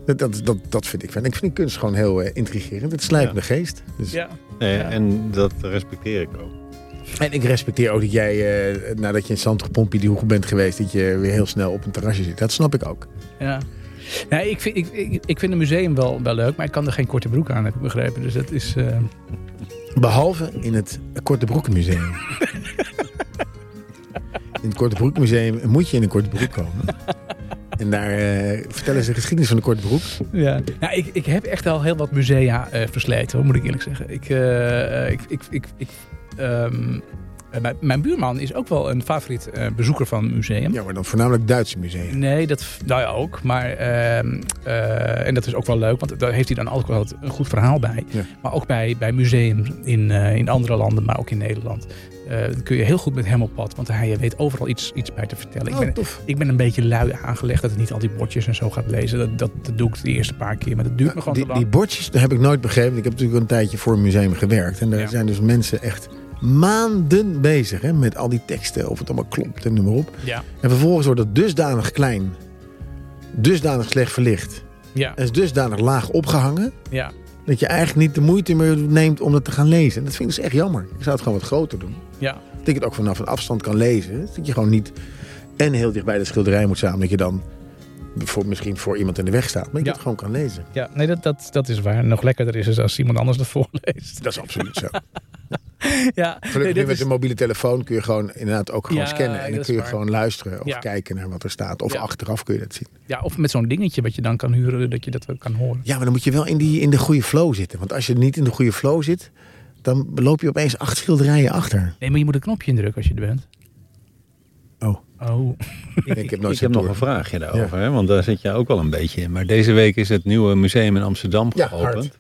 Speaker 2: Dat, dat, dat, dat vind ik fijn. Ik vind die kunst gewoon heel eh, intrigerend. Het slijpt
Speaker 4: Ja.
Speaker 2: de geest. Dus-
Speaker 3: ja.
Speaker 4: Nee,
Speaker 3: Ja.
Speaker 4: En dat respecteer ik ook.
Speaker 2: En ik respecteer ook dat jij, eh, nadat je in Santer Pompie die hoek bent geweest, dat je weer heel snel op een terrasje zit. Dat snap ik ook.
Speaker 3: Ja. Nee, ik vind, ik, ik, ik vind een museum wel, wel leuk, maar ik kan er geen korte broek aan, heb ik begrepen. Dus dat is. eh,
Speaker 2: Behalve in het Korte
Speaker 3: (laughs)
Speaker 2: Broekmuseum. in het Korte Broekmuseum moet je in een korte broek komen. En daar eh, vertellen ze de geschiedenis van de korte broek.
Speaker 3: ja. nou, ik, ik heb echt al heel wat musea eh, versleten, hoor, moet ik eerlijk zeggen. Ik, eh, ik, ik, ik, ik, ehm, eh, mijn, mijn buurman is ook wel een favoriet eh, bezoeker van een museum.
Speaker 2: Ja, maar dan voornamelijk Duitse musea.
Speaker 3: Nee, dat, nou ja, ook. Maar, ehm, eh, en dat is ook wel leuk, want daar heeft hij dan altijd wel een goed verhaal bij.
Speaker 2: Ja.
Speaker 3: Maar ook bij, bij museums in, eh, in andere landen, maar ook in Nederland. Eh, eh, dan kun je heel goed met hem op pad. Want hij weet overal iets, iets bij te
Speaker 2: Oh.
Speaker 3: vertellen. ik, ben,
Speaker 2: tof.
Speaker 3: ik ben een beetje lui aangelegd dat ik niet al die bordjes en zo gaat lezen. Dat, dat, dat doe ik de eerste paar keer, maar dat duurt me gewoon
Speaker 2: Die,
Speaker 3: te
Speaker 2: die
Speaker 3: lang.
Speaker 2: bordjes dat heb ik nooit begrepen. Ik heb natuurlijk een tijdje voor een museum gewerkt. En daar
Speaker 3: Ja.
Speaker 2: zijn dus mensen echt maanden bezig hè, met al die teksten. Of het allemaal klopt en noem maar op.
Speaker 3: ja,
Speaker 2: En vervolgens wordt het dusdanig klein, dusdanig slecht verlicht.
Speaker 3: ja,
Speaker 2: En is dusdanig laag opgehangen.
Speaker 3: ja.
Speaker 2: Dat je eigenlijk niet de moeite meer neemt om dat te gaan lezen. En dat vind ik dus echt jammer. Ik zou het gewoon wat groter doen.
Speaker 3: ja.
Speaker 2: Dat ik het ook vanaf een afstand kan lezen. Dat je gewoon niet en heel dicht bij de schilderij moet staan. Dat je dan voor, misschien voor iemand in de weg staat. Maar dat je
Speaker 3: Ja.
Speaker 2: het gewoon kan lezen.
Speaker 3: Ja, nee, dat, dat, dat is waar. Nog lekkerder is het als iemand anders dat voorleest.
Speaker 2: Dat is absoluut zo.
Speaker 3: Ja, nee,
Speaker 2: Gelukkig nu
Speaker 3: dit
Speaker 2: met
Speaker 3: is-
Speaker 2: een mobiele telefoon kun je gewoon inderdaad ook gewoon
Speaker 3: Ja,
Speaker 2: scannen. En dan
Speaker 3: dat
Speaker 2: kun
Speaker 3: is
Speaker 2: je
Speaker 3: waar.
Speaker 2: gewoon luisteren of
Speaker 3: Ja.
Speaker 2: kijken naar wat er staat. Of
Speaker 3: Ja.
Speaker 2: achteraf kun je dat zien.
Speaker 3: ja, of met zo'n dingetje wat je dan kan huren, dat je dat ook kan horen.
Speaker 2: Ja, maar dan moet je wel in, die, in de goede flow zitten. Want als je niet in de goede flow zit, dan loop je opeens acht schilderijen achter.
Speaker 3: Nee, maar je moet een knopje indrukken als je er bent.
Speaker 2: Oh,
Speaker 3: Oh,
Speaker 2: ik, heb nooit
Speaker 4: ik
Speaker 2: zo'n
Speaker 4: heb nog
Speaker 2: tour.
Speaker 4: een vraagje daarover, hè, want daar zit je ook wel een beetje in. Maar deze week is het nieuwe museum in Amsterdam
Speaker 2: Ja,
Speaker 4: geopend.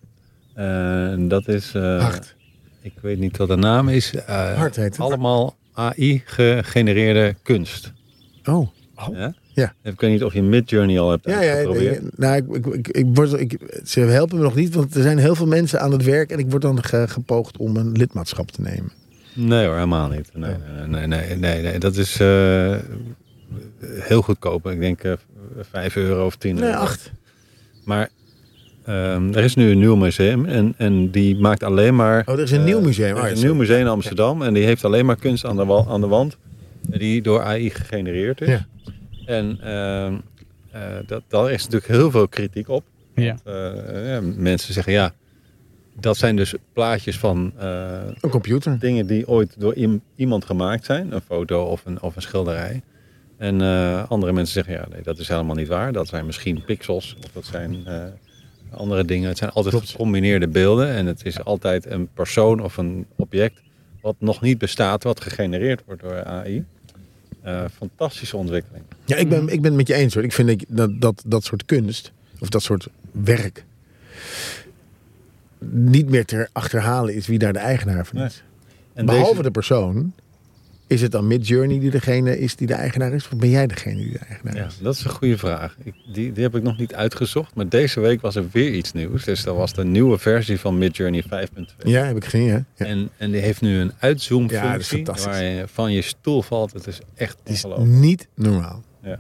Speaker 4: Eh, en dat is, eh,
Speaker 2: Hart.
Speaker 4: ik weet niet wat de naam is. eh,
Speaker 2: Hart heet het.
Speaker 4: Allemaal AI-gegenereerde kunst.
Speaker 2: Oh.
Speaker 4: Ja?
Speaker 2: Ja.
Speaker 4: Ik weet niet of je Midjourney al hebt
Speaker 2: Ja, ja,
Speaker 4: uitgeprobeerd.
Speaker 2: eh, nou, ik, ik, ik, ik word, ik, ze helpen me nog niet, want er zijn heel veel mensen aan het werk. En ik word dan ge- gepoogd om een lidmaatschap te nemen.
Speaker 4: Nee hoor, helemaal niet. Nee, nee, nee, nee, nee, nee. Dat is eh, heel goedkoop. Ik denk eh 5 euro of 10
Speaker 2: Nee,
Speaker 4: euro.
Speaker 2: acht.
Speaker 4: Maar ehm, er is nu een nieuw museum en, en die maakt alleen maar...
Speaker 2: Oh, er is een
Speaker 4: eh,
Speaker 2: nieuw museum.
Speaker 4: er is
Speaker 2: Oh, ja,
Speaker 4: een nieuw museum in Amsterdam en die heeft alleen maar kunst aan de, wal, aan de wand die door AI gegenereerd is.
Speaker 2: Ja.
Speaker 4: En ehm, eh, dat, daar is natuurlijk heel veel kritiek op.
Speaker 3: ja.
Speaker 4: Eh, ja, mensen zeggen ja, dat zijn dus plaatjes van eh,
Speaker 2: Een computer.
Speaker 4: dingen die ooit door iem- iemand gemaakt zijn. Een foto of een, of een schilderij. En eh, andere mensen zeggen, ja, nee, dat is helemaal niet waar. Dat zijn misschien pixels of dat zijn eh, andere dingen. Het zijn altijd gecombineerde beelden. En het is altijd een persoon of een object wat nog niet bestaat, wat gegenereerd wordt door AI. Eh, fantastische ontwikkeling.
Speaker 2: Ja, ik
Speaker 4: Mhm.
Speaker 2: ben, ik ben het met je eens hoor. Ik vind dat je- dat, dat dat soort kunst, of dat soort werk, niet meer te achterhalen is wie daar de eigenaar van is.
Speaker 4: En
Speaker 2: Behalve
Speaker 4: deze-
Speaker 2: de persoon, is het dan Midjourney die degene is die de eigenaar is? Of ben jij degene die de eigenaar
Speaker 4: Ja,
Speaker 2: is?
Speaker 4: dat is een goede vraag. Ik, die, die heb ik nog niet uitgezocht. Maar deze week was er weer iets nieuws. Dus dat was de nieuwe versie van Midjourney 5.2.
Speaker 2: Ja, heb ik gezien, hè? Ja.
Speaker 4: En, en die heeft nu een
Speaker 2: Ja, dat is
Speaker 4: uitzoomfunctie
Speaker 2: fantastisch.
Speaker 4: waar je van je stoel valt. Het is echt
Speaker 2: Het is
Speaker 4: ongelooflijk.
Speaker 2: niet normaal.
Speaker 4: Ja.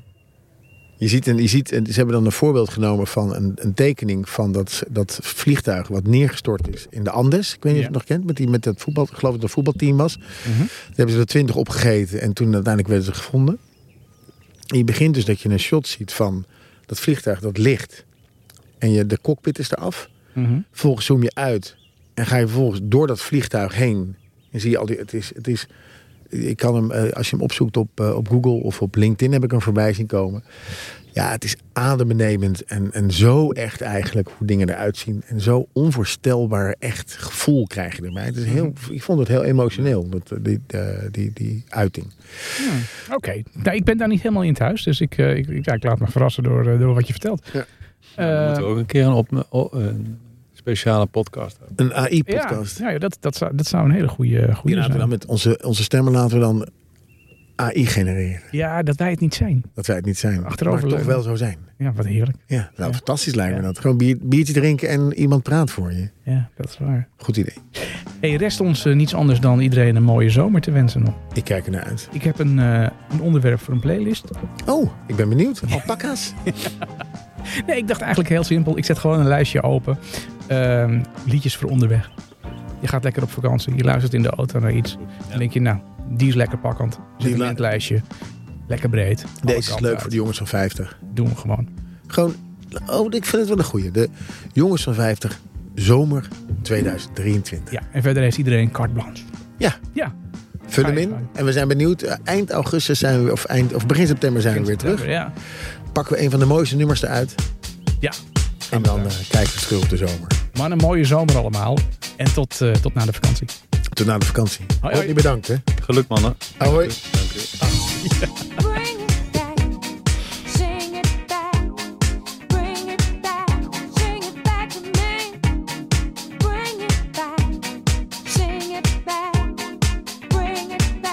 Speaker 2: Je ziet, en, je ziet en ze hebben dan een voorbeeld genomen van een, een tekening van dat, dat vliegtuig wat neergestort is in de Andes. Ik weet niet of je het
Speaker 3: Ja.
Speaker 2: nog kent, met, die, met dat voetbal, ik geloof dat het een voetbalteam was. Daar hebben ze er twintig opgegeten en toen uiteindelijk werden ze gevonden. En je begint dus dat je een shot ziet van dat vliegtuig dat ligt. En je, de cockpit is eraf.
Speaker 3: Mhm.
Speaker 2: Vervolgens zoom je uit en ga je vervolgens door dat vliegtuig heen. En zie je al die. Het is. Het is ik kan hem, eh, als je hem opzoekt op, eh, op Google of op LinkedIn, heb ik hem voorbij zien komen. Ja, het is adembenemend en, en zo echt eigenlijk hoe dingen eruit zien. En zo onvoorstelbaar echt gevoel krijg je erbij. Het is heel, ik vond het heel emotioneel, dat, eh, die, eh, die, die uiting.
Speaker 3: Oké, nou, ik ben daar niet helemaal in thuis, dus ik, eh, ik, ik- ja, ik laat me verrassen door, eh, door wat je vertelt.
Speaker 2: Ja.
Speaker 4: We
Speaker 3: Eh,
Speaker 4: moeten ook een keer een, op, o- een speciale podcast hebben.
Speaker 2: Een
Speaker 3: ja,
Speaker 2: AI-podcast.
Speaker 3: ja, ja, dat, dat, zou, dat zou een hele eh, goede,
Speaker 2: Die
Speaker 3: goede
Speaker 2: laten we dan
Speaker 3: zijn.
Speaker 2: met onze, onze stemmen laten we dan AI genereren.
Speaker 3: Ja, dat wij het niet zijn.
Speaker 2: Dat wij het niet zijn, maar toch
Speaker 3: Achteroverleunen.
Speaker 2: wel zo zijn.
Speaker 3: Ja, wat heerlijk.
Speaker 2: Ja, nou
Speaker 3: Ja.
Speaker 2: fantastisch lijkt me
Speaker 3: Ja.
Speaker 2: dat. Gewoon bier, biertje drinken en iemand praat voor je.
Speaker 3: Ja, dat is waar.
Speaker 2: Goed idee.
Speaker 3: Hey, rest ons eh, niets anders dan iedereen een mooie zomer te wensen nog.
Speaker 2: Ik kijk ernaar uit.
Speaker 3: Ik heb een, eh, een onderwerp voor een playlist.
Speaker 2: Oh, ik ben benieuwd. Alpaca's.
Speaker 3: Nee, ik dacht eigenlijk heel simpel. Ik zet gewoon een lijstje open. Ehm, liedjes voor onderweg. Je gaat lekker op vakantie. Je luistert in de auto naar iets. Dan denk je, nou, die is lekker pakkend.
Speaker 2: Die
Speaker 3: Zit in
Speaker 2: la-
Speaker 3: het lijstje. Lekker breed.
Speaker 2: (laughs)
Speaker 3: Alle
Speaker 2: Deze is
Speaker 3: kanten
Speaker 2: leuk
Speaker 3: uit.
Speaker 2: voor de jongens van 50.
Speaker 3: Doen we gewoon.
Speaker 2: Gewoon, oh, ik vind het wel een goeie. De jongens van 50, zomer 2023.
Speaker 3: Ja, en verder heeft iedereen carte blanche.
Speaker 2: Ja.
Speaker 3: Ja.
Speaker 2: Vul
Speaker 3: Ga
Speaker 2: hem
Speaker 3: je
Speaker 2: in.
Speaker 3: gang.
Speaker 2: En we zijn benieuwd. Eh, Eind augustus zijn we, of, eind, of begin september zijn we weer terug.
Speaker 3: Ja.
Speaker 2: Pakken we een van de mooiste nummers eruit.
Speaker 3: ja.
Speaker 2: En dan eh, kijken we terug op de zomer.
Speaker 3: Maar een mooie zomer allemaal. En tot, eh, tot na de vakantie.
Speaker 2: Tot na de vakantie.
Speaker 3: hoi.
Speaker 2: Rodney, bedankt hè.
Speaker 4: Geluk mannen.
Speaker 2: Hoi.
Speaker 7: Bring it back, sing it back, bring it back, sing it back to me. Bring it back, sing it back, bring it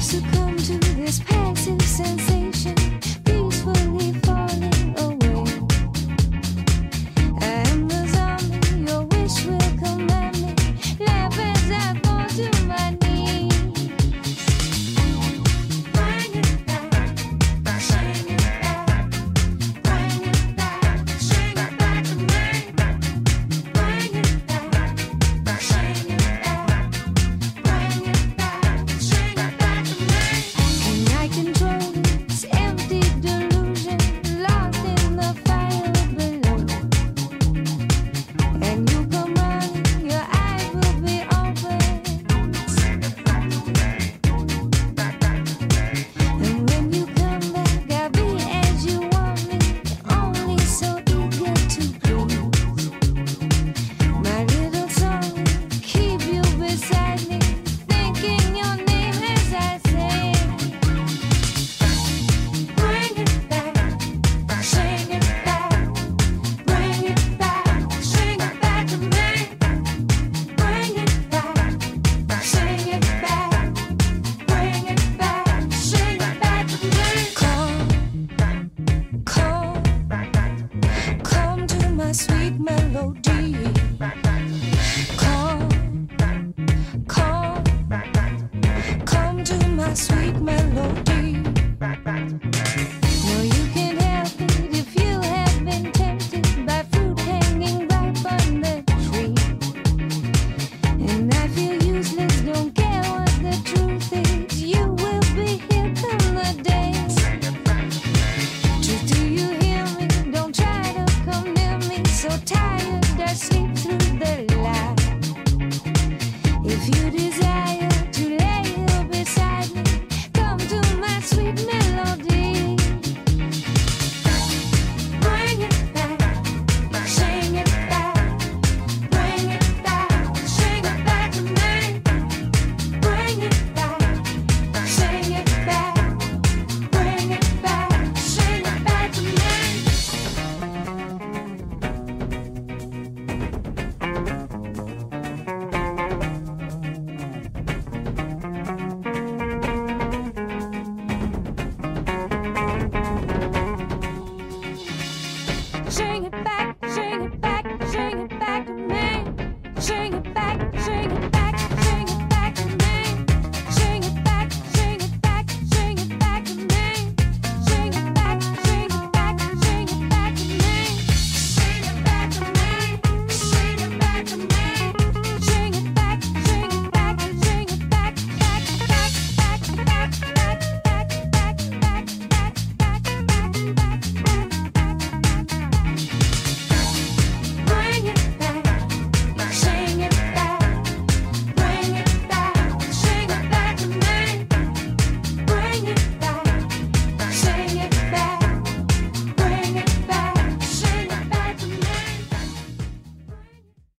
Speaker 7: succumb to this passing sensation, peacefully falling away. I am the zombie your wish will command me. Laugh as I fall to my knees. Bring it back, bring it back, bring it back, bring it back to me. Bring it back, bring it back. Bring it back, bring it back to me. Can I control this empty delusion, lost in the fire below? And you come running, your eyes will be open. Bring it back to me. And when you come back, I'll be as you want me, only so eager to please. My little song, keep you beside me, thinking your name as I sing. Bring it back, bring it back, bring it back, bring it back to me. Bring it back, bring it back, bring it back, bring it back to me. Come, come, come to my sweet melody. Come, come, come to my sweet melody. No, you can